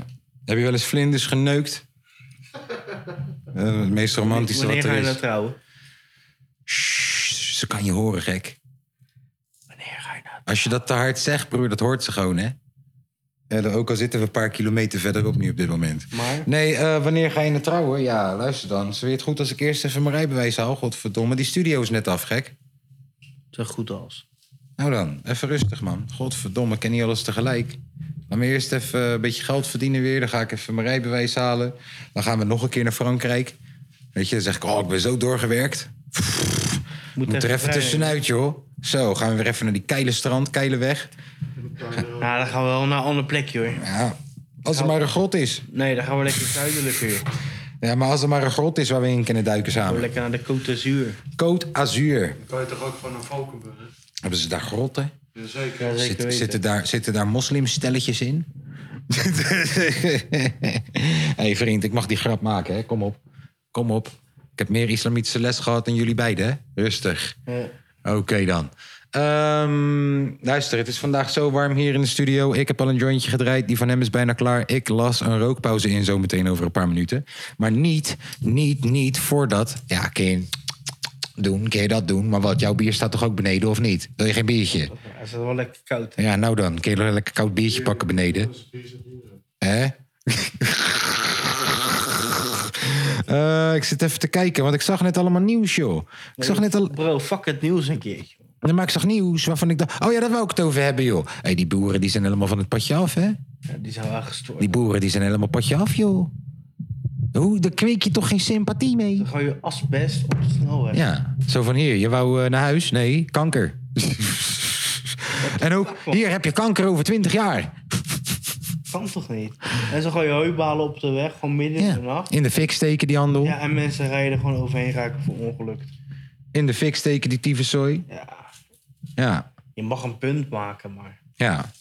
A: je wel eens vlinders geneukt? Eh, het meest romantische
B: Wanneer
A: wat
B: ga je
A: er is.
B: nou trouwen?
A: Shh, ze kan je horen, gek.
B: Wanneer ga je nou
A: Als je dat te hard zegt, broer, dat hoort ze gewoon, hè? Ja, dan- ook al zitten we een paar kilometer verderop nu op dit moment.
B: Maar?
A: Nee, eh, wanneer ga je naar trouwen? Ja, luister dan. Is het goed als ik eerst even mijn rijbewijs haal? Godverdomme, die studio is net af, gek.
B: Zo goed als.
A: Nou dan, even rustig, man. Godverdomme, ik ken niet alles tegelijk. Laat me eerst even een beetje geld verdienen weer. Dan ga ik even mijn rijbewijs halen. Dan gaan we nog een keer naar Frankrijk. Weet je, dan zeg ik, oh, ik ben zo doorgewerkt.
B: Moet,
A: Moet er even
B: vrij.
A: tussenuit, joh. Zo, gaan we weer even naar die keile strand, keile weg.
B: Nou, dan gaan we wel naar een ander plekje hoor.
A: Ja, als het maar een grot is.
B: Nee, dan gaan we lekker zuidelijker joh. Gaan
A: Ja, maar als er maar een grot is waar we in kunnen duiken
B: we
A: samen.
B: lekker naar de Côte d'Azur.
A: Côte Azur.
C: Kan je toch ook van een Valkenburg? hè?
A: Hebben ze daar grotten?
C: Jazeker.
B: Ja, zeker
A: Zit,
B: weten.
A: zitten, daar, zitten daar moslimstelletjes in? hey vriend, ik mag die grap maken, hè? Kom op. Kom op. Ik heb meer islamitische les gehad dan jullie beiden, hè? Rustig.
B: Ja.
A: Oké dan. Ehm, luister, het is vandaag zo warm hier in de studio. Ik heb al een jointje gedraaid. Die van hem is bijna klaar. Ik las een rookpauze in zometeen over een paar minuten. Maar niet, niet, niet voordat... Ja, kun je doen, kun je dat doen. Maar wat, jouw bier staat toch ook beneden of niet? Wil je geen biertje?
B: Hij is wel lekker koud.
A: Ja, nou dan. Kun je een lekker koud biertje pakken beneden. Hè? Eh, ik zit even te kijken, want ik zag net allemaal nieuws, joh. Ik zag net al...
B: Bro, fuck het nieuws een keertje.
A: Nee, maar ik zag nieuws waarvan ik dacht... Oh ja, daar wou ik het over hebben, joh. Hé, die boeren die zijn helemaal van het padje af, hè?
B: Ja, die zijn wel gestoord.
A: Die boeren die zijn helemaal padje af, joh. Hoe, daar kweek je toch geen sympathie mee?
B: Dan ga je asbest op de snelweg.
A: Ja, zo van hier, je wou eh, naar huis? Nee, kanker. en ook, hier heb je kanker over 20 jaar.
B: Kan toch niet? En zo gooi je heubalen op de weg, gewoon midden in de nacht.
A: In de fik steken die handel.
B: Ja, en mensen rijden gewoon overheen raken voor ongeluk.
A: In de fik steken die tyfuszooi.
B: Ja.
A: Ja,
B: Je mag een punt maken, maar...
A: ja.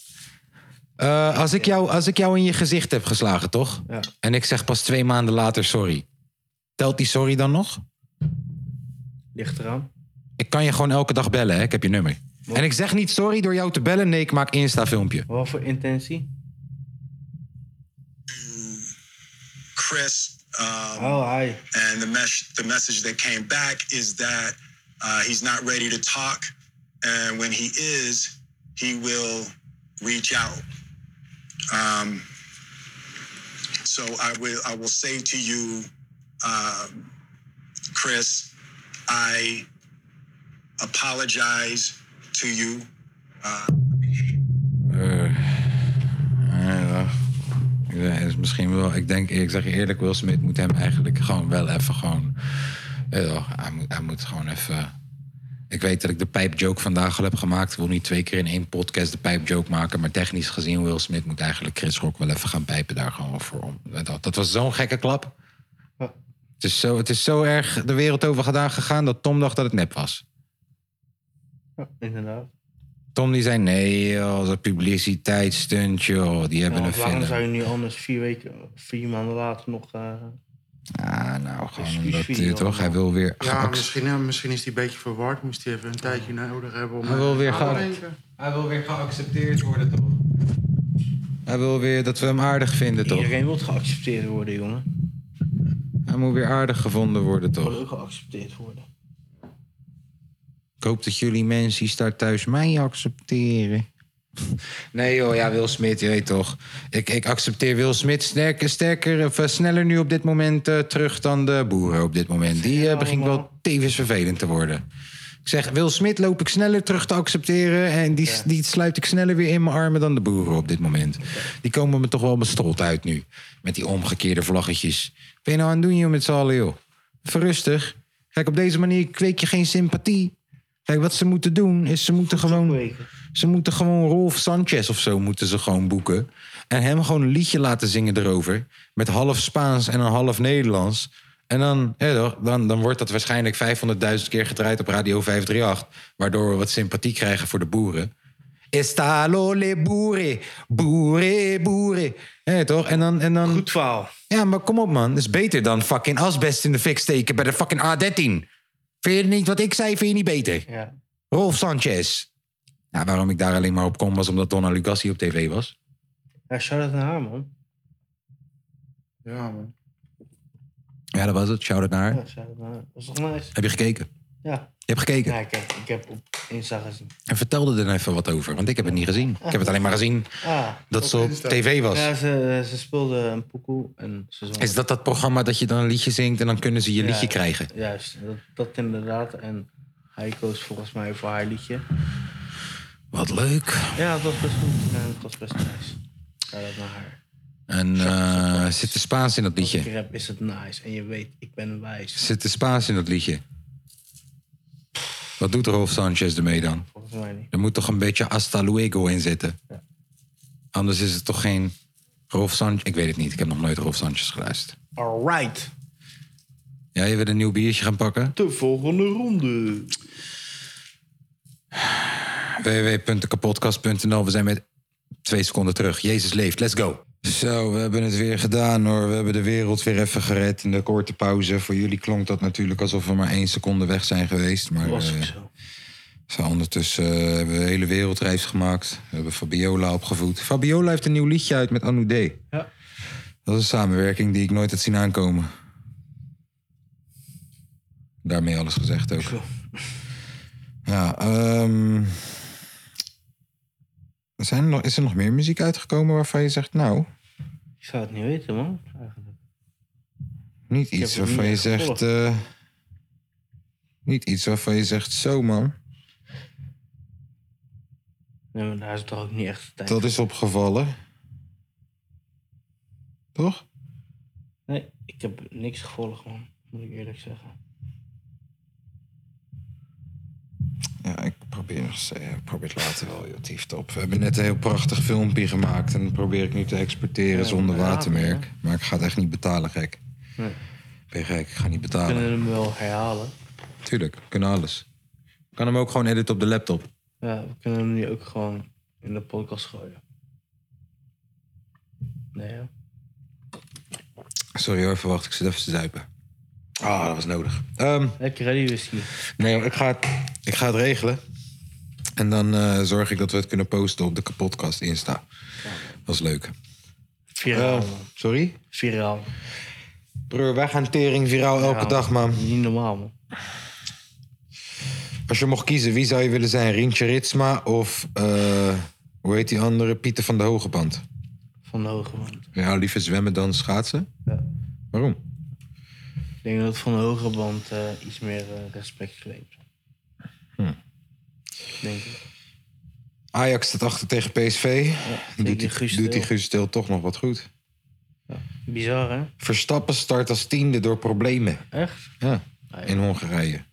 A: Eh, als, ik jou, als ik jou in je gezicht heb geslagen, toch?
B: Ja.
A: En ik zeg pas twee maanden later sorry. Telt die sorry dan nog?
B: Ligt eraan.
A: Ik kan je gewoon elke dag bellen, hè? Ik heb je nummer. En ik zeg niet sorry door jou te bellen. Nee, ik maak Insta-filmpje.
B: Wat voor intentie?
I: Chris. Um,
B: Oh, hi.
I: And the, mes- the message that came back is that uh, he's not ready to talk. And when he is, he will reach out. Um, so I will, I will say to you, um, Chris, I apologize to you. Uh,
A: Ja, ja, is misschien wel. Ik denk, ik zeg je eerlijk, Will Smith moet hem eigenlijk gewoon wel even gewoon. eh, ja, hij, moet, hij moet gewoon even. Ik weet dat ik de pijpjoke vandaag al heb gemaakt. Ik wil niet twee keer in één podcast de pijpjoke maken. Maar technisch gezien, Will Smith moet eigenlijk Chris Rock wel even gaan pijpen daar gewoon voor. Om. eh, Dat, dat was zo'n gekke klap. Het, is zo, het is zo erg de wereld over gedaan gegaan dat Tom dacht dat het nep was.
B: Ja, inderdaad.
A: Tom die zei, nee joh, dat publiciteitsstunt joh, die hebben
B: Ja,
A: een
B: want waarom
A: film.
B: zou je nu anders vier weken, vier maanden later nog... eh,
A: Ah, nou, gewoon omdat,
B: Excuusvideo
A: eh, toch, hij wil weer
C: Ja,
A: geact-
C: misschien, ja, misschien is hij een beetje verward. Moest hij even een tijdje nodig hebben om...
A: Hij wil weer
C: eh,
A: gaan.
C: aan te denken.
A: Hij wil weer geaccepteerd worden, toch? Hij wil weer dat we hem aardig vinden, toch?
B: Iedereen wil geaccepteerd worden, jongen.
A: Hij moet weer aardig gevonden worden,
B: Ik
A: toch?
B: wil ook geaccepteerd worden.
A: Ik hoop dat jullie mensen die daar thuis mij accepteren. Nee joh, ja, Will Smith, je weet toch. Ik, ik accepteer Will Smith sterker, sterker of eh, sneller nu op dit moment eh, terug dan de boeren op dit moment. Die eh begint wel tevens vervelend te worden. Ik zeg, Will Smith loop ik sneller terug te accepteren... en die, die sluit ik sneller weer in mijn armen dan de boeren op dit moment. Die komen me toch wel bestold uit nu. Met die omgekeerde vlaggetjes. Wat ben je nou aan het doen joh, met z'n allen joh? Verrustig. Kijk, op deze manier kweek je geen sympathie. Kijk, wat ze moeten doen is ze moeten gewoon... Ze moeten gewoon Rolf Sanchez of zo moeten ze gewoon boeken. En hem gewoon een liedje laten zingen erover. Met half Spaans en een half Nederlands. En dan, hè, toch, dan, dan wordt dat waarschijnlijk 500.000 keer gedraaid op Radio 538. Waardoor we wat sympathie krijgen voor de boeren. Estalo le boere, boere, boere. Hé, toch? En dan, en dan... Goed
B: verhaal.
A: Ja, maar kom op, man. Dat is beter dan fucking asbest in de fik steken bij de fucking A13. Vind je niet wat ik zei, vind je niet beter?
B: Ja.
A: Rolf Sanchez. Nou, waarom ik daar alleen maar op kom was omdat Donna Lugassi op tv was.
B: Ja, shout-out naar haar, man.
C: Ja, man.
A: Ja, dat was het. Shout-out naar haar.
B: Ja, shout-out naar haar. Dat is toch nice?
A: Heb je gekeken?
B: Ja.
A: Je hebt gekeken?
B: Ja, ik heb, ik heb op Insta gezien.
A: En vertelde er even wat over, want ik heb het niet gezien. Ik heb het alleen maar gezien
B: Ah,
A: dat ze op
B: Insta.
A: tv was.
B: Ja, ze, ze speelde een poekoe en ze zong.
A: Is dat dat programma dat je dan een liedje zingt en dan kunnen ze je
B: Ja,
A: liedje krijgen?
B: Juist, dat, dat inderdaad. En hij koos volgens mij voor haar liedje.
A: Wat leuk.
B: Ja, dat was best goed. Ja, dat was best nice. Ja, dat naar haar.
A: En eh, zit de Spaans in dat
B: Als ik
A: liedje?
B: er heb, is het nice. En je weet, ik ben wijs.
A: Zit de Spaans in dat liedje? Wat doet Rolf Sanchez ermee dan?
B: Volgens mij niet.
A: Er moet toch een beetje hasta luego in zitten? Anders is het toch geen Rolf Sanchez? Ik weet het niet, ik heb nog nooit Rolf Sanchez geluisterd.
B: Alright.
A: Ja, je wil een nieuw biertje gaan pakken?
B: De volgende ronde.
A: www.kapodcast.nl. We zijn met twee seconden terug. Jezus leeft, let's go. Zo, we hebben het weer gedaan hoor. We hebben de wereld weer even gered in de korte pauze. Voor jullie klonk dat natuurlijk alsof we maar één seconde weg zijn geweest. Maar
B: Was ook
A: eh,
B: zo.
A: zo ondertussen eh, hebben we een hele wereldreis gemaakt. We hebben Fabiola opgevoed. Fabiola heeft een nieuw liedje uit met Anu D.
B: Ja.
A: Dat is een samenwerking die ik nooit had zien aankomen. Daarmee alles gezegd ook. Ja, ehm, zijn er nog, is er nog meer muziek uitgekomen waarvan je zegt, nou,
B: Ik zou het niet weten, man. Eigenlijk.
A: niet
B: heb
A: iets
B: het niet
A: waarvan je
B: echt
A: zegt.
B: gevolgd.
A: eh, niet iets waarvan je zegt, zo man.
B: Nee, maar daar is toch ook niet echt de tijd.
A: Dat is opgevallen. Toch?
B: Nee, ik heb niks gevolgd, man. Moet ik eerlijk zeggen.
A: Ja, ik probeer nog steeds. ja, Ik probeer het later wel, joh, tief op. We hebben net een heel prachtig filmpje gemaakt. En dat probeer ik nu te exporteren
B: Ja,
A: zonder
B: ja,
A: watermerk. Maar ik ga het echt niet betalen, gek.
B: Nee.
A: Ben je gek? Ik ga niet
B: We
A: betalen.
B: kunnen hem wel herhalen.
A: Tuurlijk, we kunnen alles. Ik kan hem ook gewoon editen op de laptop.
B: Ja, we kunnen hem nu ook gewoon in de podcast gooien. Nee, ja.
A: Sorry hoor, verwacht. Ik zit even te zuipen. Ah, dat was nodig. Ehm
B: Heb je ready whisky?
A: Nee, hoor, ik ga, het, ik ga het regelen. En dan eh, zorg ik dat we het kunnen posten op de kapotkast Insta. Dat is leuk.
B: Viraal.
A: Eh, sorry?
B: Viraal.
A: Broer, wij gaan tering viraal elke
B: Ja,
A: dag, man.
B: Niet normaal, man.
A: Als je mocht kiezen, wie zou je willen zijn? Rintje Ritsma of... eh, hoe heet die andere? Pieter van de Hogeband.
B: Van de hoge man.
A: Ja, liever zwemmen dan schaatsen?
B: Ja.
A: Waarom?
B: Ik denk dat Van de hoge band eh, iets meer eh, respect kleedt.
A: Hm.
B: Denk ik.
A: Ajax staat achter tegen PSV. doet die
B: Guus
A: doet die
B: Til.
A: Guus Til toch nog wat goed.
B: Bizar, hè?
A: Verstappen start als tiende door problemen.
B: Echt?
A: Ja,
B: Nee.
A: in Hongarije.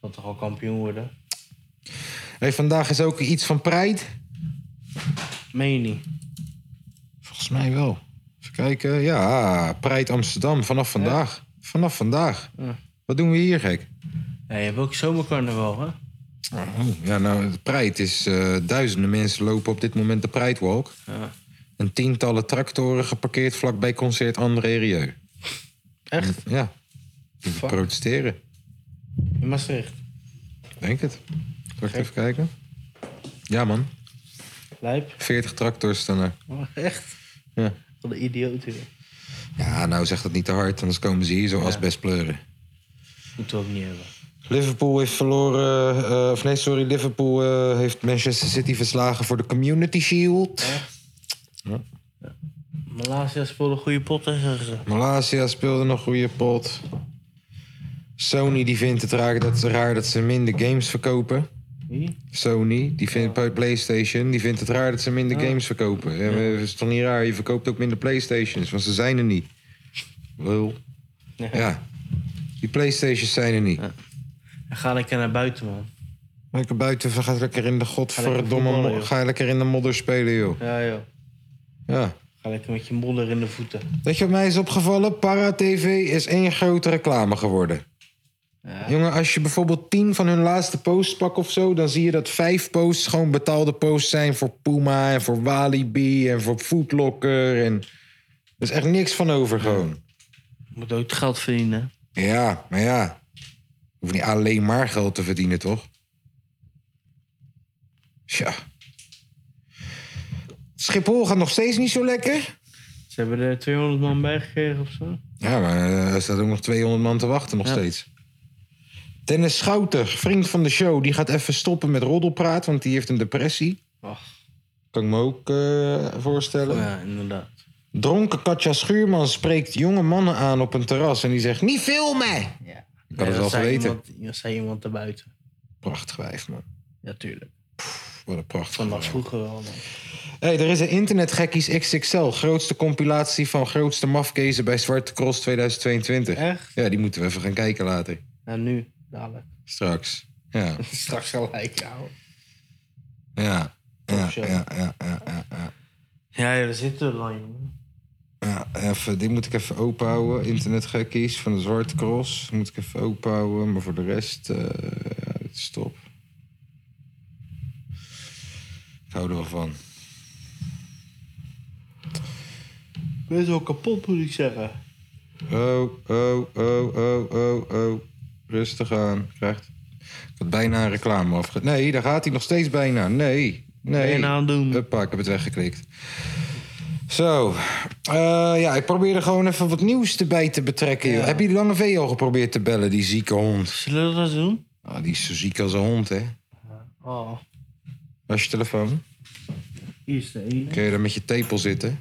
B: Zal toch al kampioen worden?
A: Hey, vandaag is ook iets van Pride.
B: Meen je niet?
A: Volgens mij wel. Even kijken. Ja, Pride Amsterdam vanaf vandaag. Vanaf vandaag.
B: Ja.
A: Wat doen we hier, gek?
B: Ja, je hebt ook zomercarnaval, hè?
A: Oh, ja, nou, de Pride is... eh, duizenden mensen lopen op dit moment de Pride Walk. En tientallen tractoren geparkeerd vlakbij concert André Rieu.
B: Echt?
A: Ja. Die protesteren,
B: In Maastricht.
A: denk het. Zal ik even kijken? Ja, man.
B: Lijp.
A: 40 tractors staan er.
B: Oh, echt?
A: Ja.
B: Wat een idioot weer.
A: Ja, nou zeg dat niet te hard, anders komen ze hier zo als best pleuren.
B: Moeten we ook niet hebben.
A: Liverpool heeft verloren. eh, of nee, sorry, Liverpool eh, heeft Manchester City verslagen voor de Community Shield.
B: Malaysia speelde goede potten, zeggen ze.
A: Malaysia speelde nog goede pot. Sony die vindt het raar dat, raar dat ze minder games verkopen.
B: Wie?
A: Sony, die vindt bij PlayStation, die vindt het raar dat ze minder games verkopen. Ja, maar is toch niet raar? Je verkoopt ook minder PlayStations, want ze zijn er niet. Lul.
B: Ja.
A: Ja. Die PlayStations zijn er niet.
B: Ga lekker naar buiten, man.
A: Lekker buiten, ga lekker in de godverdomme.
B: voetballen,
A: mo-
B: joh.
A: Ga lekker in de modder spelen, joh.
B: Ja, joh.
A: Ja.
B: Ga lekker met je modder in de voeten.
A: Weet je wat mij is opgevallen? Para TV is één grote reclame geworden. Jongen, als je bijvoorbeeld tien van hun laatste posts pakt of zo... dan zie je dat vijf posts gewoon betaalde posts zijn voor Puma... en voor Walibi en voor Foodlocker. En... Er is echt niks van over gewoon.
B: Moet ook geld verdienen.
A: Ja, maar ja. Je hoeft niet alleen maar geld te verdienen, toch? Tja. Schiphol gaat nog steeds niet zo lekker.
B: Ze hebben er 200 man bij gekregen of zo.
A: Ja, maar eh, er staat ook nog 200 man te wachten nog
B: Ja.
A: steeds. Dennis Schouter, vriend van de show, die gaat even stoppen met roddelpraat, want die heeft een depressie.
B: Ach.
A: Kan ik me ook eh, voorstellen.
B: Ja, inderdaad.
A: Dronken Katja Schuurman spreekt jonge mannen aan op een terras en die zegt: Niet filmen! Ik had
B: Nee,
A: het
B: dat
A: wel
B: zei
A: geweten.
B: Iemand, dat zei iemand daarbuiten.
A: Prachtig wijf, man.
B: Ja, tuurlijk.
A: Wat een prachtig.
B: Van dat vroeger wel, man.
A: Hey, er is een Internetgekkies XXL. Grootste compilatie van grootste mafkezen bij Zwarte Cross 2022.
B: Echt?
A: Ja, die moeten we even gaan kijken later.
B: En Nou, nu, dadelijk.
A: Straks. Ja.
B: Straks gelijk, ja. hoor.
A: Ja. Ja,
B: show.
A: ja, ja, ja, ja, ja.
B: Ja, ja, we zitten er lang, jongen.
A: Ja, even, dit moet ik even openhouden. Internetgekkies van de Zwarte Cross. Moet ik even openhouden. Maar voor de rest, eh, ja, dit is top. Ik hou er wel van.
B: Ik ben zo kapot, moet ik zeggen.
A: Oh, oh, oh, oh, oh, oh. Rustig aan. Krijgt. Ik had bijna een reclame afge... Nee, daar gaat hij nog steeds bijna. Nee, nee.
B: Bijna aan doen.
A: Huppa, ik heb het weggeklikt. Zo. Eh, ja, ik probeerde gewoon even wat nieuws erbij te betrekken. joh. Heb je Lange V al geprobeerd te bellen, die zieke hond?
B: Zullen we dat eens doen?
A: Ah, die is zo ziek als een hond, hè?
B: Oh,
A: Waar is je telefoon?
B: hier is de ene.
A: Kun je daar met je tepel zitten?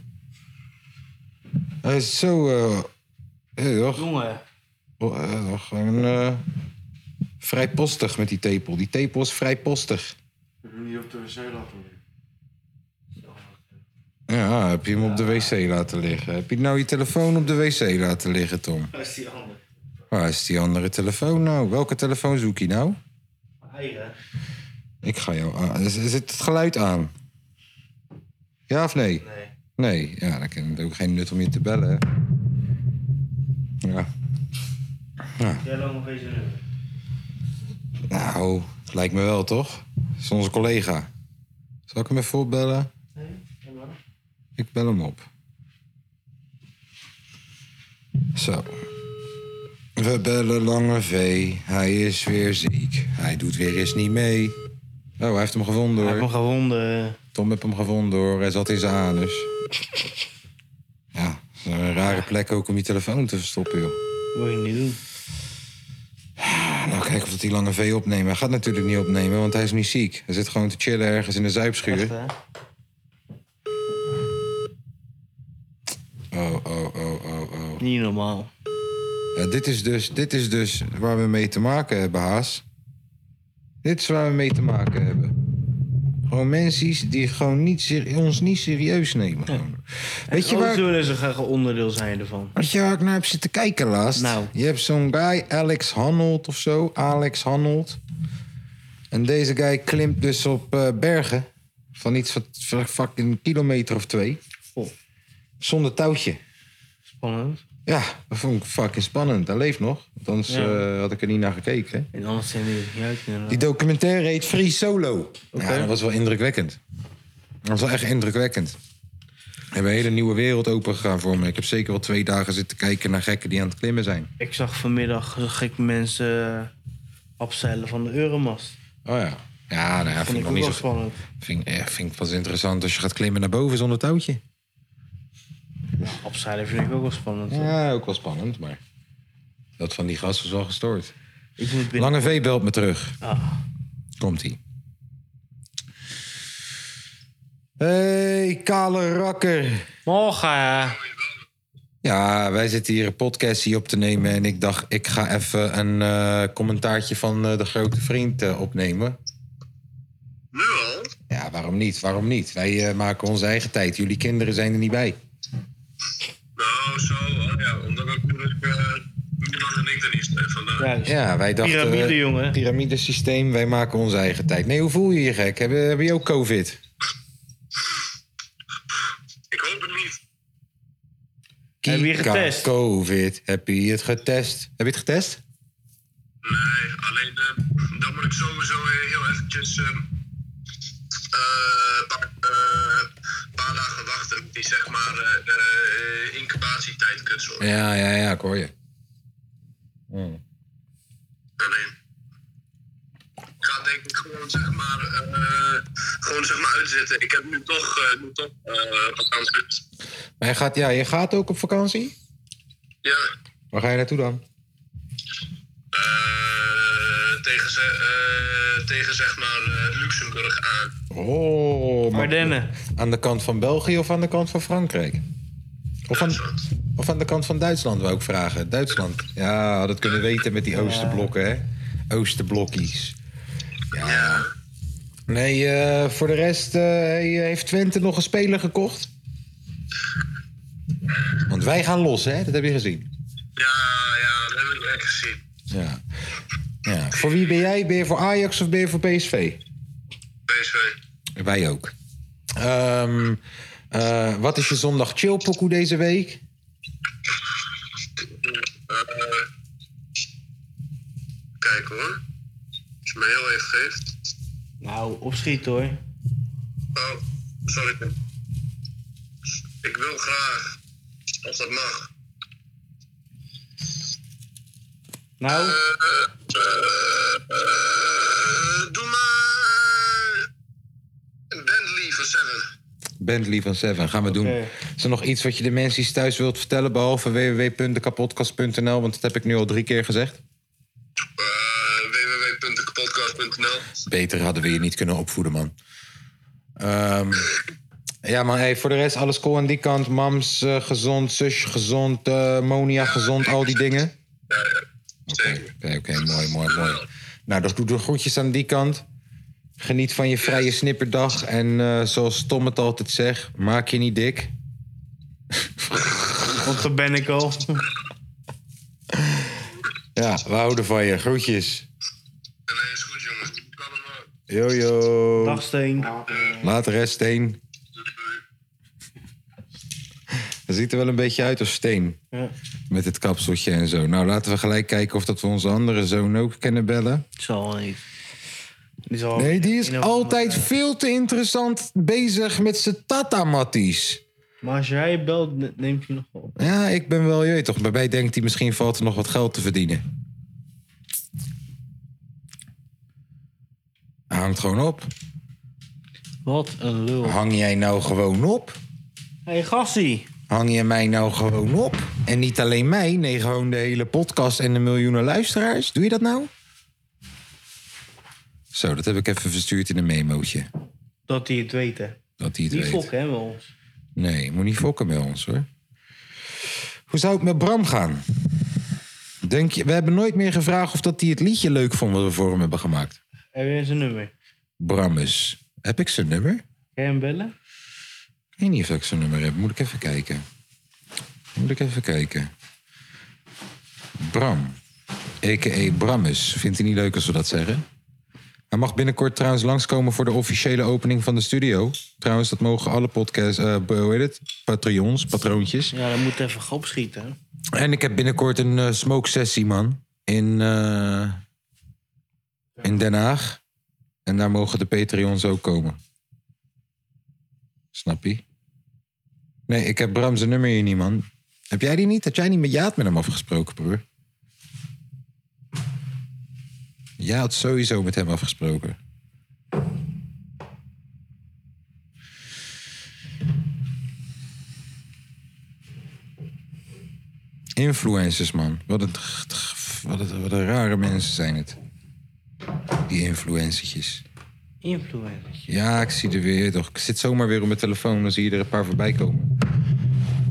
A: Hij is zo... eh hey, toch?
B: Jongen.
A: Oh, eh, nog gewoon eh, vrijpostig met die tepel. Die tepel is vrijpostig.
C: Ik heb hem niet op de wc laten liggen.
A: Ja, heb je hem op de wc laten liggen? Heb je nou je telefoon op de wc laten liggen, Tom?
B: Dat is die andere.
A: Waar is die andere telefoon nou? Welke telefoon zoek je nou?
B: Eigen.
A: Ik ga jou aan. Z- Zit het geluid aan? Ja of nee? Nee. Nee, ja, dan kan het ook geen nut om je te bellen. hè? Ja. ja.
B: Jij loopt nog eens een nummer.
A: Nou, het lijkt me wel, toch? Dat is onze collega. Zal ik hem even opbellen? Ik bel hem op. Zo. We bellen Lange V. Hij is weer ziek. Hij doet weer eens niet mee. Oh, hij heeft hem gevonden hoor. Hij heeft hem
B: gevonden.
A: Tom heeft hem gevonden hoor. Hij zat in zijn anus. Ja, dat is een rare plek ook om je telefoon te verstoppen joh.
B: Wil je niet doen.
A: Nou, kijken of hij Lange V opneemt. Hij gaat natuurlijk niet opnemen, want hij is niet ziek. Hij zit gewoon te chillen ergens in de zuipschuur. Oh, oh, oh, oh, oh.
B: Niet normaal.
A: Ja, dit, is dus, dit is dus waar we mee te maken hebben, Haas. Dit is waar we mee te maken hebben. Gewoon mensen die gewoon niet, ser- ons niet serieus nemen. gewoon. Weet je
B: Alles
A: waar...
B: doen is een graag een onderdeel zijn ervan.
A: Weet je waar ik naar heb zitten kijken laatst? Je hebt zo'n guy, Alex Hanold of zo. Alex Hanold. En deze guy klimt dus op eh, bergen. Van iets van van fucking een kilometer of twee. Zonder touwtje.
B: Spannend.
A: Ja, dat vond ik fucking spannend. Hij leeft nog. Want anders
B: Ja.
A: eh, had ik er niet naar gekeken.
B: En anders zijn die het niet uit. inderdaad.
A: Die documentaire heet Free Solo. Ja, dat was wel indrukwekkend. Dat was wel echt indrukwekkend. We hebben een hele nieuwe wereld opengegaan voor me. Ik heb zeker wel twee dagen zitten kijken naar gekken die aan het klimmen zijn.
B: Ik zag vanmiddag zag ik mensen eh, afzeilen van de Euromast.
A: Oh ja. Ja, nou ja,
B: Vond ik
A: vind ik nog
B: ook
A: niet
B: wel
A: zo
B: spannend.
A: Vind, ik- eh, vind ik pas interessant als je gaat klimmen naar boven zonder touwtje.
B: Afzeilen vind ik ook wel spannend.
A: Ja, ook wel spannend, maar dat van die gast was wel gestoord.
B: Ik moet binnen-
A: Lange V belt me terug.
B: Ah.
A: Komt ie. Hey, kale rakker.
B: Morgen.
A: Ja, wij zitten hier een podcast hier op te nemen. En ik dacht, ik ga even een eh, commentaartje van eh, de grote vriend eh, opnemen. Nu al? Ja, waarom niet? Waarom niet? Wij eh, maken onze eigen tijd. Jullie kinderen zijn er niet bij. Ja, wij dachten...
B: Piramide,
A: eh,
B: jongen.
A: Piramidesysteem, wij maken onze eigen tijd. Nee, hoe voel je je gek? Hebben, hebben je ook covid? Ik hoop het
B: je
A: niet.
B: het getest?
A: covid. Heb je het getest? Heb je het getest?
E: eh,
A: Ja, ja, ja, ik hoor je. Hmm.
E: eh, Gewoon zeg maar uitzitten. Ik heb nu toch, eh, nu toch eh, wat aan het
A: Maar je gaat, ja, je gaat ook op vakantie?
E: Ja,
A: Waar ga je naartoe dan?
E: eh, tegen, ze, eh, tegen zeg maar eh, Luxemburg aan.
A: Oh, maar- Aan de kant van België of aan de kant van Frankrijk? Of aan, of aan de kant van Duitsland, wou ik vragen. Duitsland. Ja, dat kunnen weten met die Oosterblokken, hè? Oosterblokkies. Ja. Nee, eh, voor de rest, eh, hey, heeft Twente nog een speler gekocht? Want wij gaan los, hè? Dat heb je gezien. Ja, ja, dat heb ik echt gezien. Ja. ja. Voor wie ben jij? Ben je voor Ajax of ben je voor PSV? PSV. Wij ook. Ehm, eh, wat is je zondag chillpokoe deze week?
E: Kijk hoor. Als je me heel even geeft.
B: Nou, opschiet hoor.
E: Oh, sorry. Pim. Ik wil graag, als dat mag.
B: Nou.
E: Eh,
A: Bentley van Seven, gaan we doen. Is er nog iets wat je de mensen die thuis wilt vertellen... behalve www.dekapotkast.nl, want dat heb ik nu al drie keer gezegd?
E: www.podcast.nl
A: Beter hadden we je niet kunnen opvoeden, man. Ehm, ja, maar hey, voor de rest alles cool aan die kant. Mams eh, gezond, zusje gezond, eh, Monia gezond, al die dingen. Oké, oké, oké, mooi, mooi, mooi. Nou, dat doet de groetjes aan die kant. Geniet van je vrije snipperdag. En eh, zoals Tom het altijd zegt, maak je niet dik.
B: Want dan ben ik al.
A: Ja, we houden van je. Groetjes. Nee, is goed, jongens. Yo, yo.
B: Dag, Steen.
A: Later, hè, Steen. Hij ziet er wel een beetje uit als Steen.
B: Ja.
A: Met het kapseltje en zo. Nou, laten we gelijk kijken of dat we onze andere zoon ook kunnen bellen.
B: Zal niet. Die zal
A: Nee, die is
B: in een-
A: altijd veel te interessant bezig met zijn tatamatties.
B: Maar als jij belt, ne- neemt hij nog wel op.
A: Ja, ik ben wel, je weet toch, bij mij denkt hij misschien valt er nog wat geld te verdienen. Hij hangt gewoon op.
B: Wat eh, een lul.
A: Hang jij nou gewoon op?
B: Hé, hey, gassie.
A: Hang je mij nou gewoon op? En niet alleen mij, nee, gewoon de hele podcast en de miljoenen luisteraars. Doe je dat nou? Zo, dat heb ik even verstuurd in een memootje.
B: Dat hij het weet, hè.
A: Dat hij het
B: Die
A: weet.
B: fokken, hè, wel.
A: Nee, je moet niet fokken met ons hoor. Hoe zou het met Bram gaan? Denk je, we hebben nooit meer gevraagd of dat hij het liedje leuk vond wat we voor hem hebben gemaakt.
B: Heb jij zijn nummer?
A: Brammes. Heb ik zijn nummer?
B: Kan je hem bellen?
A: Ik weet niet of ik zijn nummer heb. Moet ik even kijken. Moet ik even kijken. Bram. A.k.a. Brammes. Vindt hij niet leuk als we dat zeggen? Hij mag binnenkort trouwens langskomen voor de officiële opening van de studio. Trouwens, dat mogen alle podcasts... eh, hoe heet het? Patreons, patroontjes.
B: Ja, dan moet even grap schieten, hè.
A: En ik heb binnenkort een eh, smoke sessie, man. In, eh, in Den Haag. En daar mogen de Patreons ook komen. Snap je? Nee, ik heb Bram zijn nummer hier niet, man. Heb jij die niet? Had jij niet met Jaat met hem afgesproken, broer? Jij had sowieso met hem afgesproken. Influencers, man. Wat een, wat een, wat een rare mensen zijn het. Die influencertjes.
B: Influencer.
A: Ja, ik zie er weer toch. Ik zit zomaar weer op mijn telefoon, dan zie je er een paar voorbij komen.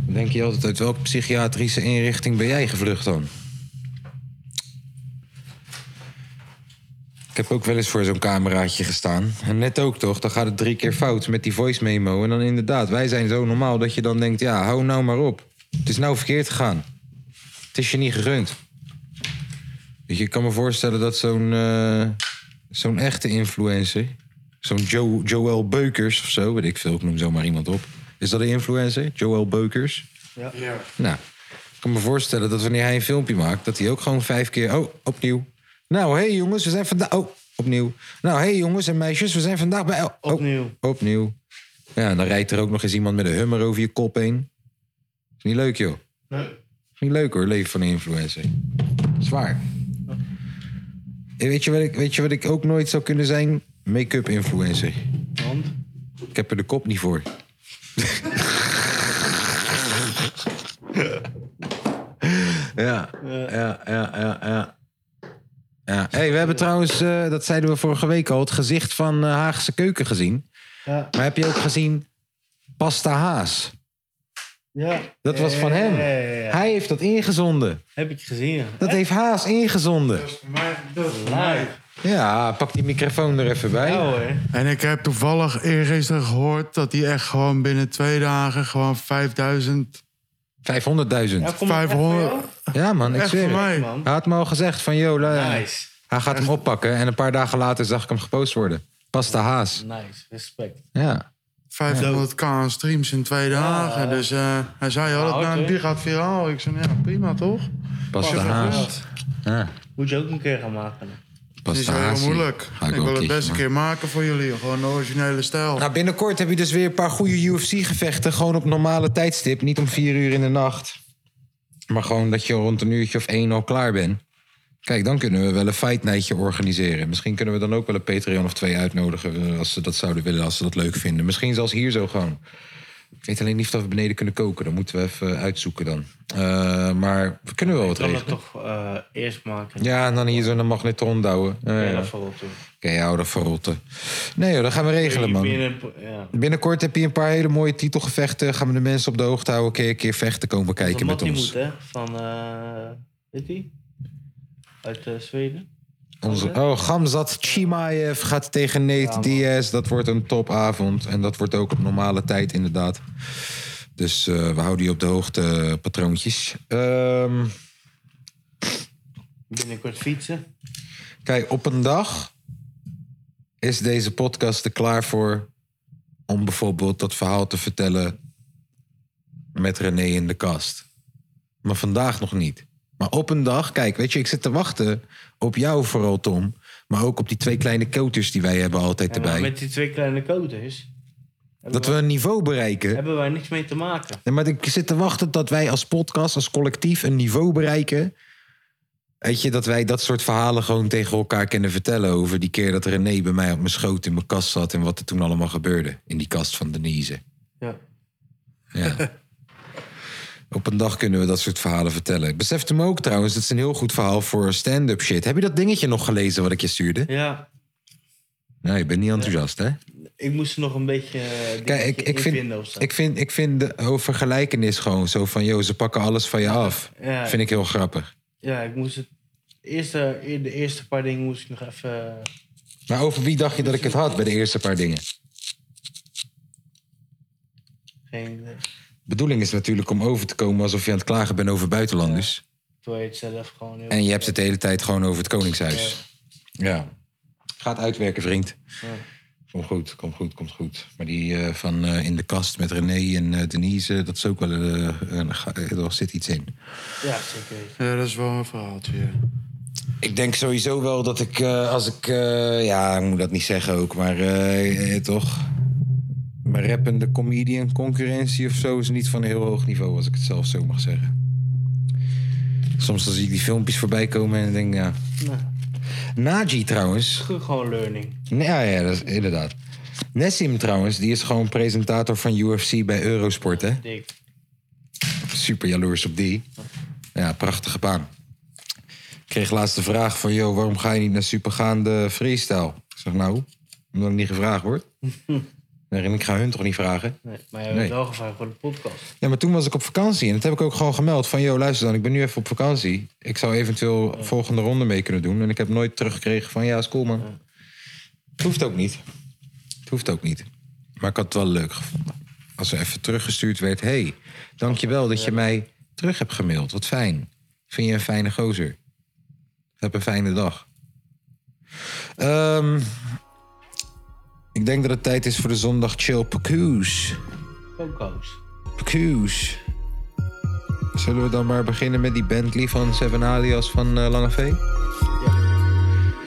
A: Dan denk je altijd uit welke psychiatrische inrichting ben jij gevlucht dan? Ik heb ook wel eens voor zo'n cameraatje gestaan. En net ook toch, dan gaat het drie keer fout met die voice memo. En dan inderdaad, wij zijn zo normaal dat je dan denkt... ja, hou nou maar op. Het is nou verkeerd gegaan. Het is je niet gegund. Weet je, ik kan me voorstellen dat zo'n eh, zo'n echte influencer... Zo'n jo Joël Beukers of zo, weet ik veel, ik noem zomaar iemand op. Is dat een influencer? Joël Beukers?
B: Ja.
A: Nou, ik kan me voorstellen dat wanneer hij een filmpje maakt, dat hij ook gewoon vijf keer. Oh, opnieuw. Nou, hé hey jongens, we zijn vandaag. Oh, opnieuw. Nou, hé hey jongens en meisjes, we zijn vandaag bij. Oh,
B: opnieuw.
A: Opnieuw. Ja, en dan rijdt er ook nog eens iemand met een hummer over je kop heen. Is niet leuk, joh.
B: Nee.
A: Is niet leuk hoor, leven van een influencer. Zwaar. En Weet je, wat ik, weet je wat ik ook nooit zou kunnen zijn? Make-up influencer.
B: Want?
A: Ik heb er de kop niet voor. ja, ja, ja, ja, ja. ja. hey, we hebben trouwens, eh, dat zeiden we vorige week al, het gezicht van eh, Haagse keuken gezien.
B: Ja.
A: Maar heb je ook gezien Pasta Haas?
B: Ja.
A: Dat was van hem.
B: Ja, ja, ja, ja.
A: Hij heeft dat ingezonden.
B: Heb ik gezien, ja.
A: Dat heeft Haas ingezonden.
B: Live.
A: Ja, pak die microfoon er even bij.
C: En ik heb toevallig eergisteren gehoord dat hij echt gewoon binnen twee dagen gewoon 5000.
A: 500.000.
C: Ja, kom maar, echt voor jou?
A: Ja, man, ik
C: Echt
A: zweer
C: voor
A: het.
C: mij.
A: Hij had me al gezegd van, joh, nice. hij gaat hem oppakken. En een paar dagen later zag ik hem gepost worden. Pasta Haas.
B: Nice, respect.
A: Ja.
C: 500k aan streams in twee dagen. Dus eh, hij zei al,
B: Hard,
C: dat nou,
B: hè?
C: die gaat viraal. Ik zei, ja, prima toch?
A: Pasta
C: Pas
A: Haas. Ja.
B: Moet je ook een keer gaan maken.
C: Het is
A: Pasta
C: heel
A: Haas.
C: moeilijk.
A: Ga
C: Ik
A: wel
C: wil het
A: een
C: best een keer maken voor jullie. Gewoon de originele stijl.
A: Nou, binnenkort heb je dus weer een paar goede UFC-gevechten. Gewoon op normale tijdstip. Niet om vier uur in de nacht. Maar gewoon dat je rond een uurtje of één al klaar bent. Kijk, dan kunnen we wel een fight nightje organiseren. Misschien kunnen we dan ook wel een Patreon of twee uitnodigen... eh, als ze dat zouden willen, als ze dat leuk vinden. Misschien zelfs hier zo gewoon. Ik weet alleen niet of we beneden kunnen koken. Dat moeten we even uitzoeken dan. Eh, maar we kunnen wel wat
B: Kan dat
A: regelen.
B: toch eh, eerst maken?
A: Ja, en dan hier zo'n magnetron douwen.
B: Kan je
A: ja.
B: dat voorop doen?
A: Oké, hou dat verrotten. Nee joh, dat gaan we regelen man.
B: Binnen- ja.
A: Binnenkort heb je een paar hele mooie titelgevechten. Gaan we de mensen op de hoogte houden. Een keer, een keer vechten komen kijken
B: Van
A: met
B: Mattie
A: ons.
B: moet, hè? Van, eh weet die? Uit eh, Zweden.
A: Onze, oh, Gamzat Chimaev gaat tegen Nate Diaz. Dat wordt een topavond. En dat wordt ook op normale tijd, inderdaad. Dus eh, we houden je op de hoogte, eh, patroontjes. Ehm,
B: Binnenkort fietsen.
A: kijk, op een dag is deze podcast er klaar voor... om bijvoorbeeld dat verhaal te vertellen met René in de kast. Maar vandaag nog niet. Maar op een dag, kijk, weet je, ik zit te wachten op jou vooral, Tom. Maar ook op die twee kleine koters die wij hebben altijd
B: En
A: erbij.
B: met die twee kleine koters
A: Dat we een niveau bereiken.
B: hebben wij niks mee te maken.
A: Nee, maar ik zit te wachten dat wij als podcast, als collectief, een niveau bereiken. Weet je, dat wij dat soort verhalen gewoon tegen elkaar kunnen vertellen. Over die keer dat René bij mij op mijn schoot in mijn kast zat. En wat er toen allemaal gebeurde. In die kast van Denise.
B: Ja.
A: Ja. Op een dag kunnen we dat soort verhalen vertellen. Ik besefte me ook trouwens, dat is een heel goed verhaal voor stand-up shit. Heb je dat dingetje nog gelezen wat ik je stuurde?
B: Ja,
A: Nou, je bent niet enthousiast, hè?
B: ik moest er nog een beetje eh,
A: Kijk, ik,
B: dingetje
A: ik,
B: in
A: vind,
B: vinden of zo.
A: ik, vind, ik vind de overgelijkenis gewoon zo van... joh, ze pakken alles van je af.
B: Ja.
A: Vind ik heel grappig.
B: Ja, ik moest het... Eerste, de eerste paar dingen moest ik nog even... eh,
A: Maar over wie dacht je dat ik het had bij de eerste paar dingen?
B: Geen,
A: bedoeling is natuurlijk om over te komen... alsof je aan het klagen bent over buitenlanders.
B: terwijl je het zelf gewoon heel...
A: En je hebt het de hele tijd gewoon over het Koningshuis. Ja. Gaat uitwerken, vriend.
B: Ja.
A: Komt goed, komt goed, komt goed. Maar die eh, van eh, In de Kast met René en eh, Denise... eh, dat is ook wel... eh, een ga- eh, er zit iets in.
B: Ja, zeker.
C: Ja, dat is wel een verhaaltje. ja.
A: Ik denk sowieso wel dat ik, eh, als ik, eh, ja, ik moet dat niet zeggen ook, maar eh, eh, toch. Mijn rappende comedian concurrentie of zo is niet van heel hoog niveau, als ik het zelf zo mag zeggen. Soms dan zie ik die filmpjes voorbij komen en dan denk ik, ja.
B: Nou,
A: Naji trouwens.
B: terug gewoon learning.
A: Nee, ja, ja, dat is, inderdaad. Nessim trouwens, die is gewoon presentator van UFC bij Eurosport, hè?
B: Dik.
A: super jaloers op die. Ja, prachtige baan. Ik kreeg laatst de vraag van... Yo, waarom ga je niet naar supergaande freestyle? Ik zeg, nou, omdat ik niet gevraagd word. Nee, en ik ga hun toch niet vragen?
B: Nee, maar jij bent
A: Nee.
B: wel gevraagd voor de podcast.
A: Ja, maar toen was ik op vakantie. En dat heb ik ook gewoon gemeld. Van, yo, luister dan, ik ben nu even op vakantie. Ik zou eventueel volgende ronde mee kunnen doen. En ik heb nooit teruggekregen van, ja, is cool, man. Het hoeft ook niet. Het hoeft ook niet. Maar ik had het wel leuk gevonden. Als er even teruggestuurd werd... hey, dankjewel dat je mij terug hebt gemaild. Wat fijn. Vind je een fijne gozer. Heb een fijne dag. Ehm, ik denk dat het tijd is voor de zondag chill Pacoos.
B: Coco's.
A: Q's. Zullen we dan maar beginnen met die Bentley van Seven Alias van eh, Lange V?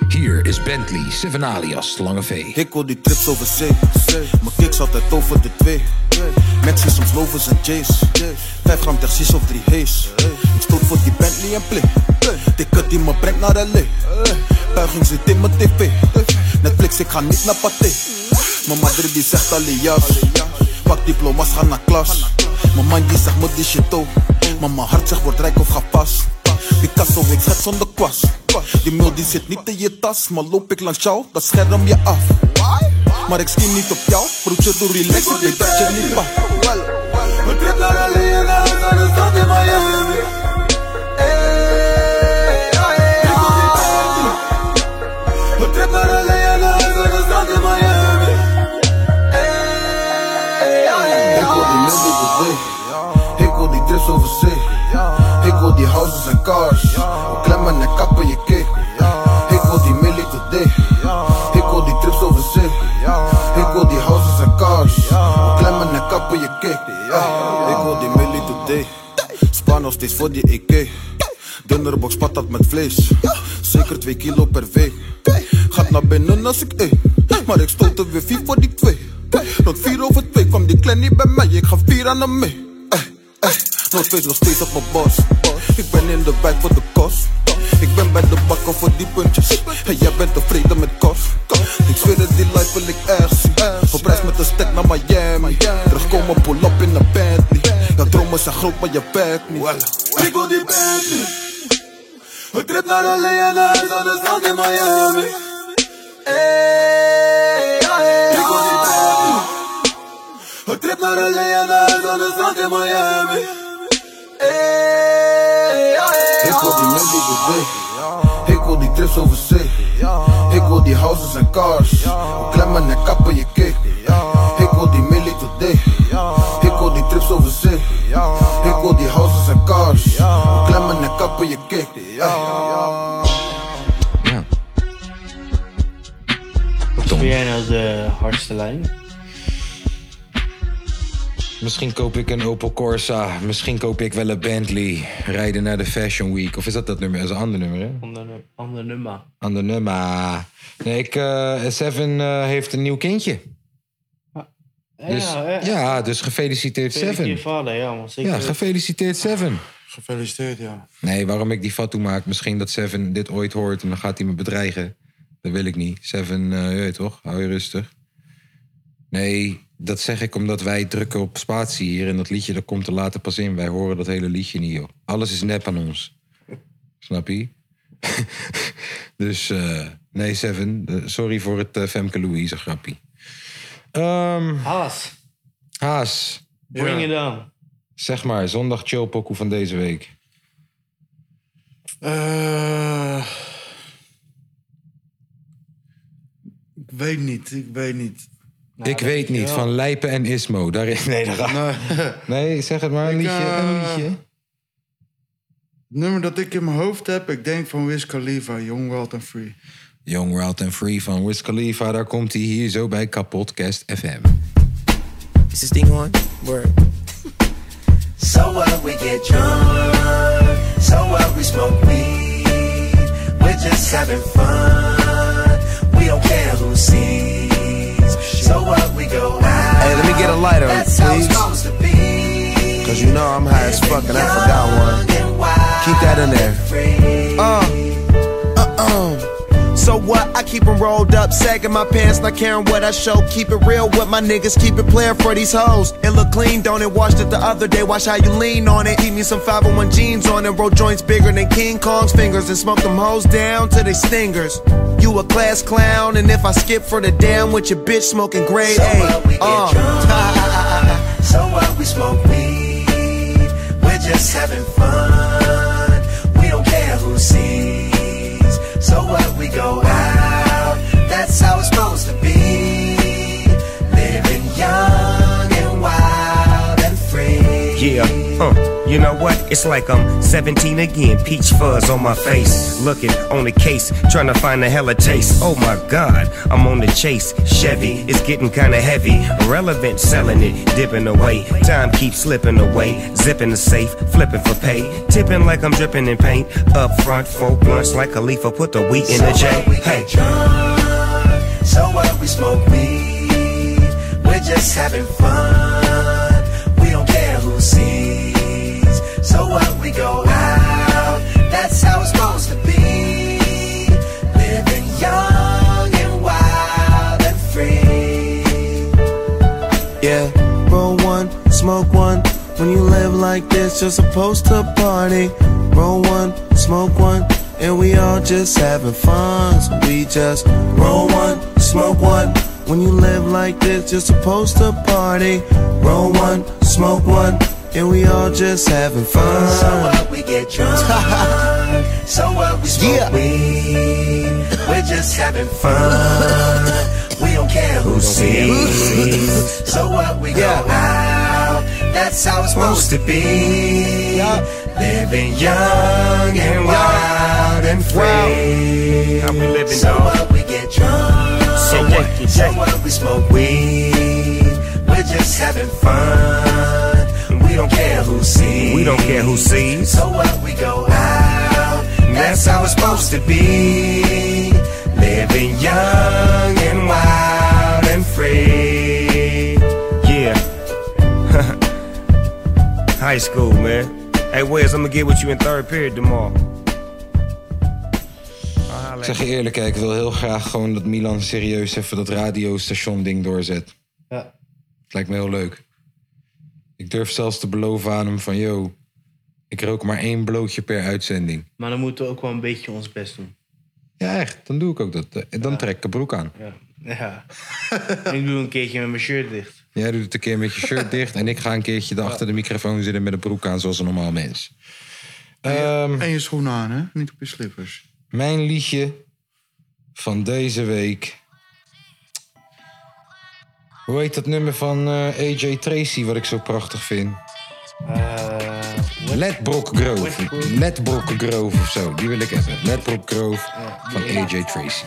A: Hier is Bentley, Seven Alias, Lange V.
J: Ik wil die trips over zee. Mijn kicks altijd over de twee. Maxi soms lovers en J's. Vijf gram tercies of drie H's. Ik stoot voor die Bentley en play. Dikke die me brengt naar L.A. Buiging zit in mijn tv. Netflix, ik ga niet naar Pathé. Mijn madre die zegt alias. Pak diploma's, ga naar klas. Mijn mind die zegt moet die shit ook. Maar mijn hart zegt word rijk of ga pas. Die kassel, ik schets zonder kwast. Die mail die zit niet in je tas. Maar loop ik langs jou, dat scherm je af. Maar ik skin niet op jou, broertje doe relax, ik weet dat je niet past.
G: Een trip naar de en naar huis, naar de stad in Miami. Hey, ah, hey, ah. Een trip naar de en naar huis, naar de stad in Miami. Hey, ah, hey,
J: Ik wil die mensen over zee. Ik wil die trips over zee. Ik wil die houses en cars. Klemmen en kappen je cake. Ik wil die millie today. Ik wil die trips over zee. Ik wil die houses en cars. Klemmen en kappen je cake. Ik wil die millie today. Spaar nog steeds voor die EK. Dunnerbox patat met vlees. Zeker 2 kilo per week. Gaat naar binnen als ik eet. Maar ik stond er weer 4 voor die 2. Nog 4 over 2 kwam die klein niet bij mij. Ik ga 4 aan hem mee. Eh, eh. Nog steeds nog steeds op mijn bos. Ik ben in de wijk voor de kost. Ik ben bij de bakker voor die puntjes. En jij bent tevreden met kost. Ik zweer het, die life wil ik echt zien. Op reis met een stek naar Miami. Terugkomen, pull up in een Bentley. Jouw dromen zijn groot, maar je werkt niet.
G: Ik wil die Bentley. Een trip naar de en naar huis, naar de stad in Miami. Hey, ah, hey, Ik wil die Bentley. Een trip naar de en naar huis, naar de stad in Miami. Hey, ah, hey,
J: Ik wil die Melly de Ik wil die trips over zee. Ik wil die houses en cars. Hoe klemmen en kappen je cake. Ik wil die milli today. Ik wil die trips over zee. Ik wil die houses en cars. Hoe klemmen en kappen je cake.
B: Wat vind jij nou de hardste lijn?
A: Misschien koop ik een Opel Corsa. Misschien koop ik wel een Bentley. Rijden naar de Fashion Week. Of is dat dat nummer? Dat is een ander nummer, hè?
B: Ander, nu- ander nummer.
A: Ander nummer. Nee, ik, eh, Seven eh, heeft een nieuw kindje. Dus,
B: ja,
A: ja,
B: hè?
A: dus gefeliciteerd,
B: Je
A: Seven.
B: vader, ja, man. Zeker.
A: Ja, gefeliciteerd, Seven.
C: Gefeliciteerd, ja.
A: Nee, waarom ik die fatu maak? Misschien dat Seven dit ooit hoort en dan gaat hij me bedreigen. Dat wil ik niet. Seven, eh, je weet toch? Hou je rustig. Nee, dat zeg ik omdat wij drukken op spatie hier. En dat liedje dat komt er later pas in. Wij horen dat hele liedje niet, joh. Alles is nep aan ons. Snap je? dus eh, nee, Seven. eh, sorry voor het eh, Femke Louise grappie. Eh,
B: Haas.
A: Haas.
B: Bring it on.
A: Zeg maar, zondag chillpokoe van deze week.
C: Eh, ik weet niet, ik weet niet. Nou,
B: Nou,
A: ik weet niet, van Lijpen en Ismo. Daar is... Nee, daar
C: Nee.
A: nee, zeg het maar, een
C: Ik,
A: liedje. een
C: eh,
A: liedje.
C: Het nummer dat ik in mijn hoofd heb, ik denk van Wiz Khalifa, Young, Wild and Free.
A: Young, Wild and Free van Wiz Khalifa. Daar komt hij hier zo bij Kapotcast FM.
K: Is this thing on? Word.
L: So what we get drunk, so what we smoke weed. We're just having fun, we don't care who sees. So what we go out.
K: Hey, let me get a lighter,
L: That's how it's
K: please.
L: supposed to be.
K: Cause you know I'm high as fuck and I forgot one. Keep that in there. Uh, uh-uh. So what? I keep 'em rolled up, sagging my pants, not caring what I show. Keep it real with my niggas, keep it player for these hoes. It look clean, don't it? Washed it the other day, watch how you lean on it. Eat me some 501 jeans on and roll joints bigger than King Kong's fingers, and smoke them hoes down to they stingers. You a class clown, and if I skip for the damn with your bitch smoking grade
L: So
K: A.
L: what we get
K: uh.
L: drunk, so what we smoke weed. We're just having fun, we don't care who sees. So what we go out, that's how it's supposed to be. Living young and wild and free.
M: Yeah, huh. You know what? It's like I'm 17 again. Peach fuzz on my face. Looking on the case, trying to find a hella taste. Oh my god, I'm on the chase. Chevy, it's getting kinda heavy. Relevant, selling it, dipping away. Time keeps slipping away. Zipping the safe, flipping for pay. Tipping like I'm dripping in paint. Up front, four blunts like Khalifa, put the wheat in the J.
L: So what we
M: Hey.
L: get drunk, so what we smoke weed. We're just having fun, we don't care who sees. So what we go out, that's how it's supposed to be. Living young and wild and free.
K: Yeah, roll one, smoke one. When you live like this, you're supposed to party. Roll one, smoke one, and we all just having fun. So we just roll one, smoke one. When you live like this, you're supposed to party. Roll one, smoke one, and we all just having fun.
L: So what we get drunk, so what we smoke weed. We're just having fun. We don't care who sees. So what we go out, that's how it's supposed to be. Living young and wild and free.
M: How we living,
L: so
M: dog?
L: what we get drunk. So what? So what we smoke weed. We're just having fun. We don't care who sees.
M: We don't care who sees.
L: So what we go out, that's how it's supposed to be. Living young and wild and free.
M: Yeah. High school, man. Hey, Wes, I'm gonna get with you in third period tomorrow.
A: Ik zeg je eerlijk, hè, ik wil heel graag gewoon dat Milan serieus even dat radiostation ding doorzet.
B: Ja.
A: Het lijkt me heel leuk. Ik durf zelfs te beloven aan hem van... yo, ik rook maar één blootje per uitzending.
B: Maar dan moeten we ook wel een beetje ons best doen.
A: Ja, echt. Dan doe ik ook dat. En dan trek ik een broek aan.
B: Ja. ja. ik doe een keertje met mijn shirt dicht.
A: Jij doet het een keer met je shirt dicht... en ik ga een keertje daar achter de microfoon zitten met een broek aan... zoals een normaal mens.
C: En je schoenen aan, hè? Niet op je slippers.
A: Ehm, Mijn liedje van deze week. Hoe heet dat nummer van eh, AJ Tracy wat ik zo prachtig vind?
C: Eh,
A: Ledbrock Grove. Ledbrock Grove of zo. Die wil ik even. Ledbrock Grove van AJ Tracy.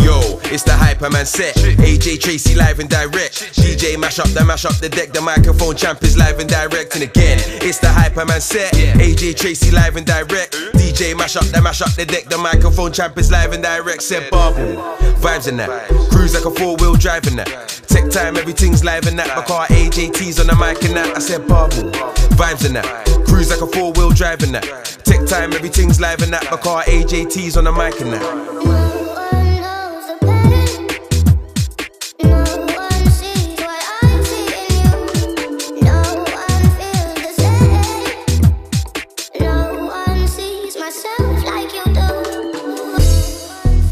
N: Yo, it's the Hyperman set. AJ Tracy live and direct. DJ mash up, the mash up the deck. The microphone champ is live and direct. And again, it's the Hyperman set. AJ Tracy live and direct. DJ mash up, the mash up the deck. The microphone champ is live and direct. Said bubble. Vibes in that. Cruise like a four wheel drive in that. Tech time, everything's live in that. My car AJT's on the mic and that. I said bubble. Vibes in that. Cruise like a four wheel drive in that. Tech time, everything's live in that. My car AJT's on the mic and that.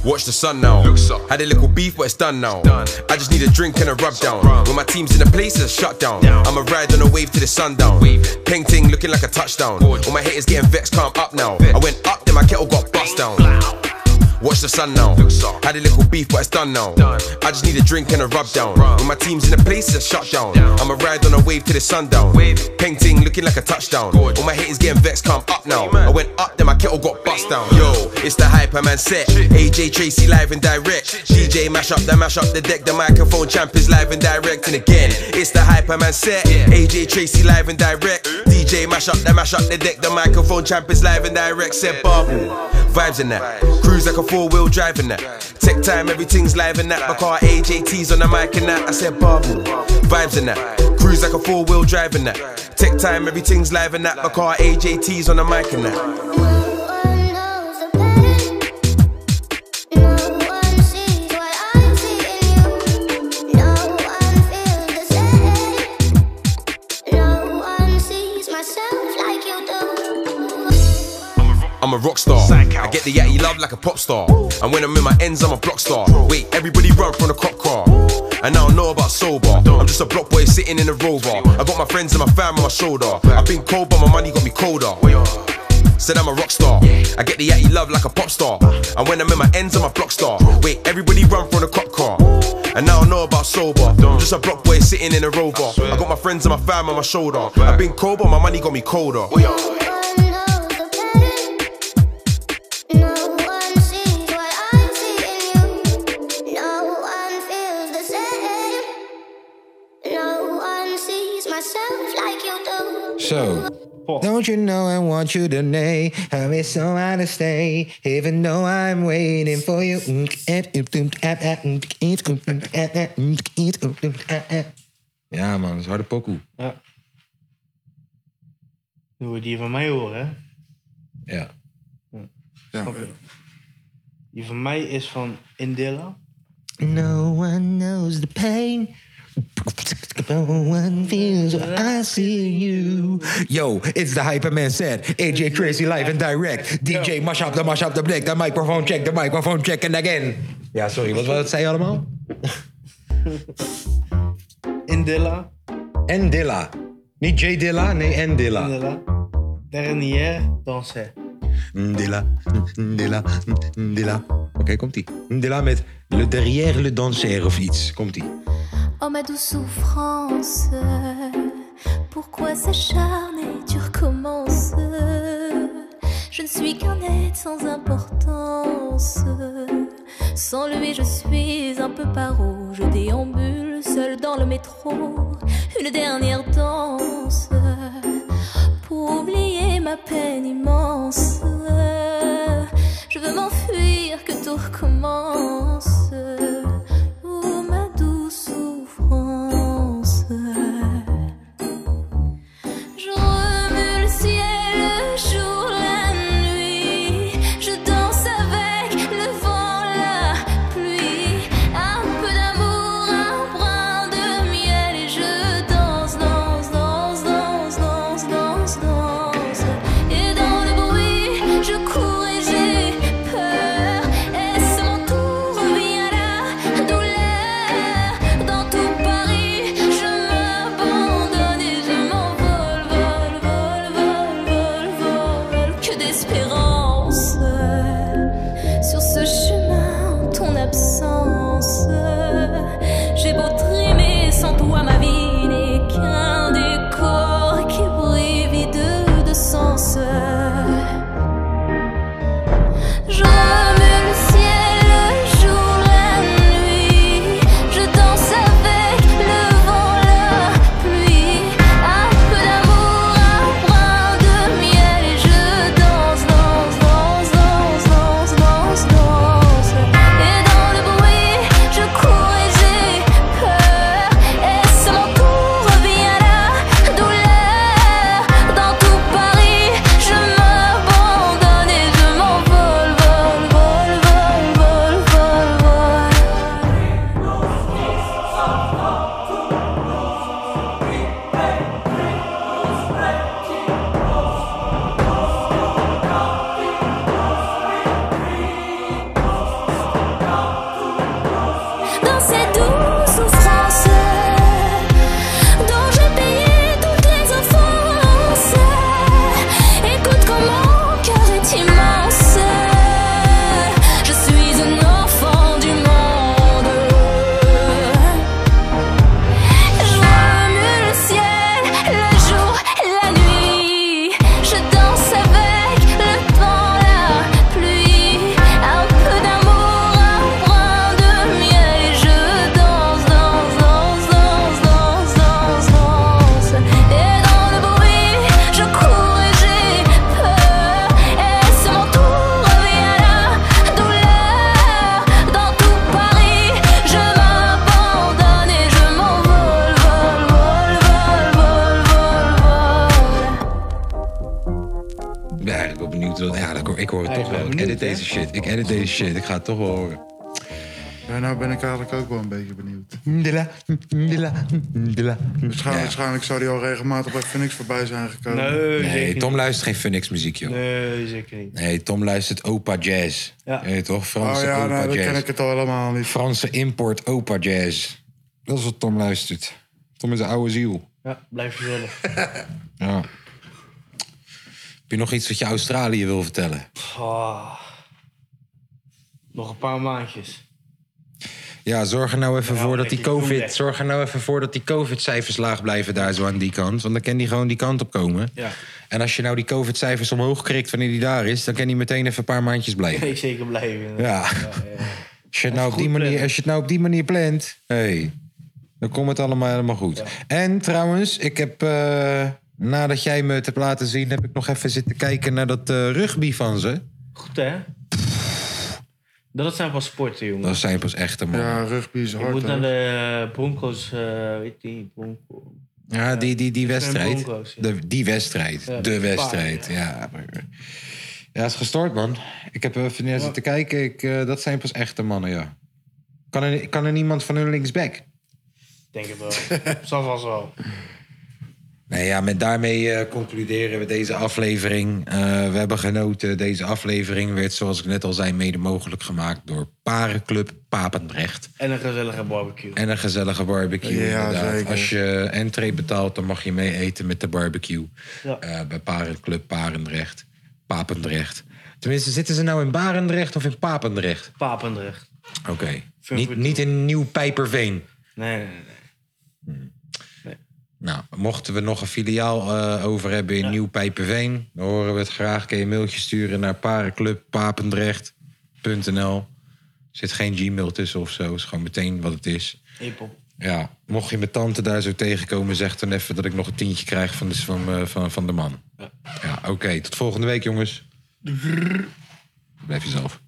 N: Watch the sun now. Had a little beef, but it's done now. I just need a drink and a rub down. When my team's in the place, it's shut down. I'ma ride on a wave to the sundown. Peng ting looking like a touchdown. All my haters getting vexed, calm up now. I went up, then my kettle got bust down. Watch the sun now. Had a little beef, but it's done now. I just need a drink and a rub down. When my team's in the place, it's shut down. I'ma ride on a wave to the sundown. Peng ting looking like a touchdown. All my haters getting vexed, calm up now. I went up, then my kettle got bust down. Yo, it's the Hyperman set. AJ Tracy live and direct. DJ mash up, the mash up the deck. The microphone champ is live and direct. And again, it's the Hyperman set. AJ Tracy live and direct. DJ mash up, the mash up the deck. The microphone champ is live and direct. Said bubble. Vibes in that. Cruise like a four wheel drive in that. Tech time, everything's live in that. My car AJT's on the mic and that. I said bubble. Vibes in that. Cruise like a four wheel drive in that. Tech time, everything's live in that. My car AJT's on the mic and that. I'm a rock star. I get the yatty love like a pop star. And when I'm in my ends, I'm a block star. Wait, everybody run from the cop car. And I don't know about sober. I'm just a block boy sitting in a rover. I got my friends and my fam on my shoulder. I've been cold, but my money got me colder. Said I'm a rock star. I get the yatty love like a pop star. And when I'm in my ends, I'm a block star. Wait, everybody run from the cop car. And I don't know about sober. I'm just a block boy sitting in a rover. I got my friends and my fam on my shoulder. I've been cold, but my money got me colder.
A: Zo. Don't you know I want you today? I'm so out to stay, even though I'm waiting for you. Ja man, dat is harde pokoe.
B: Ja. Nu wil je die van mij horen, hè?
A: Ja.
B: Snap je? Die van mij is van Indilla.
D: No one knows the pain. No one feels what I see you.
A: Yo, it's the Hyperman set. AJ Crazy live and direct. DJ mash up the mash up the black. De microfoon check, de microfoon check and again. Ja, sorry, wat, wat zei je allemaal?
B: Indilla.
A: En Dilla. Niet J Dilla, nee en Dilla.
B: Indilla. Dernière danser.
A: Dilla, Dilla, Dilla. Oké, komt-ie. Dilla met Le Derrière le Danser of iets. Komt-ie.
O: Oh ma douce souffrance, pourquoi s'acharner, tu recommences Je ne suis qu'un être sans importance. Sans lui, je suis un peu paro. Je déambule seul dans le métro. Une dernière danse pour oublier ma peine immense. Je veux m'enfuir, que tout recommence. Oh ma douce souffrance. Je remue le ciel, le jour, la nuit. Je danse avec le vent, la pluie. Un peu d'amour, un brin de miel. Et je danse, danse, danse, danse, danse, danse, danse. Et dans le bruit, je cours et j'ai peur. Est-ce
A: hoor, ik hoor het toch
C: Eigen
A: wel. Ik
C: minuut,
A: edit
C: hè?
A: deze shit. Ik edit deze shit. Ik ga het toch wel horen.
C: Ja, nou ben ik eigenlijk ook wel een beetje benieuwd.
D: Dilla, dilla, dilla.
C: Waarschijnlijk, waarschijnlijk zou die al regelmatig bij Phoenix voorbij zijn gekomen.
A: Nee, Tom luistert geen Phoenix muziek, joh.
B: Nee, zeker niet.
A: Nee, Tom luistert opa jazz.
B: Ja.
A: Je weet toch? Franse
C: Oh ja,
A: opa
C: nou, dan
A: jazz.
C: ken ik het al helemaal niet.
A: Franse import opa jazz. Dat is wat Tom luistert. Tom is een oude ziel.
B: Ja, blijf jezelf.
A: Ja. Heb je nog iets wat je Australië wil vertellen?
B: Ah. Nog een paar maandjes.
A: Ja, zorg er nou even voor dat die
B: ik doe
A: COVID...
B: echt.
A: Zorg er nou even voor dat die COVID-cijfers laag blijven daar zo aan die kant. Want dan kan die gewoon die kant op komen.
B: Ja.
A: En als je nou die COVID-cijfers omhoog krikt wanneer die daar is... dan kan die meteen even een paar maandjes blijven.
B: Ik zeker blijven.
A: Ja. Als je, het nou op die manier, als je het nou op die manier plant, hey, dan komt het allemaal helemaal goed. En trouwens, ik heb eh, nadat jij me het hebt laten zien, heb ik nog even zitten kijken naar dat eh, rugby van ze.
B: Goed hè? Dat zijn pas sporten, jongen.
A: Dat zijn pas echte mannen.
C: Ja, rugby is
B: Je moet naar de Broncos, eh, weet je, Broncos.
A: Ja, die, die, die
B: Ik ben
A: wedstrijd.
B: Broncos, ja.
A: De, die wedstrijd.
B: Ja,
A: de
B: de
A: wedstrijd. Ja, maar- ja, is gestoord, man. Ik heb even neer zitten kijken. Ik, eh, dat zijn pas echte mannen, ja. Kan er, kan er niemand van hun linksback?
B: Denk het wel. Zal vast wel.
A: Nou ja, met daarmee eh, concluderen we deze aflevering. Eh, we hebben genoten. Deze aflevering werd, zoals ik net al zei, mede mogelijk gemaakt door Parenclub Papendrecht.
B: En een gezellige barbecue.
A: En een gezellige barbecue.
B: Ja,
A: inderdaad.
B: zeker.
A: Als je entree betaalt, dan mag je mee eten met de barbecue.
B: Ja.
A: Eh, bij Parenclub Parendrecht. Papendrecht. Tenminste, zitten ze nou in Barendrecht of in Papendrecht?
B: Papendrecht.
A: Oké. Niet, niet in Nieuw-Pijperveen.
B: Nee, nee, nee.
A: Nou, mochten we nog een filiaal eh, over hebben in Nieuw-Pijpenveen... dan horen we het graag. Kun je een mailtje sturen naar parenclubpapendrecht.nl. Er zit geen Gmail tussen of zo. is gewoon meteen wat het is.
B: Hip-hop.
A: Ja, mocht je mijn tante daar zo tegenkomen... zeg dan even dat ik nog een tientje krijg van de, van, eh, van, van de man. Ja, oké. tot volgende week, jongens. Blijf jezelf.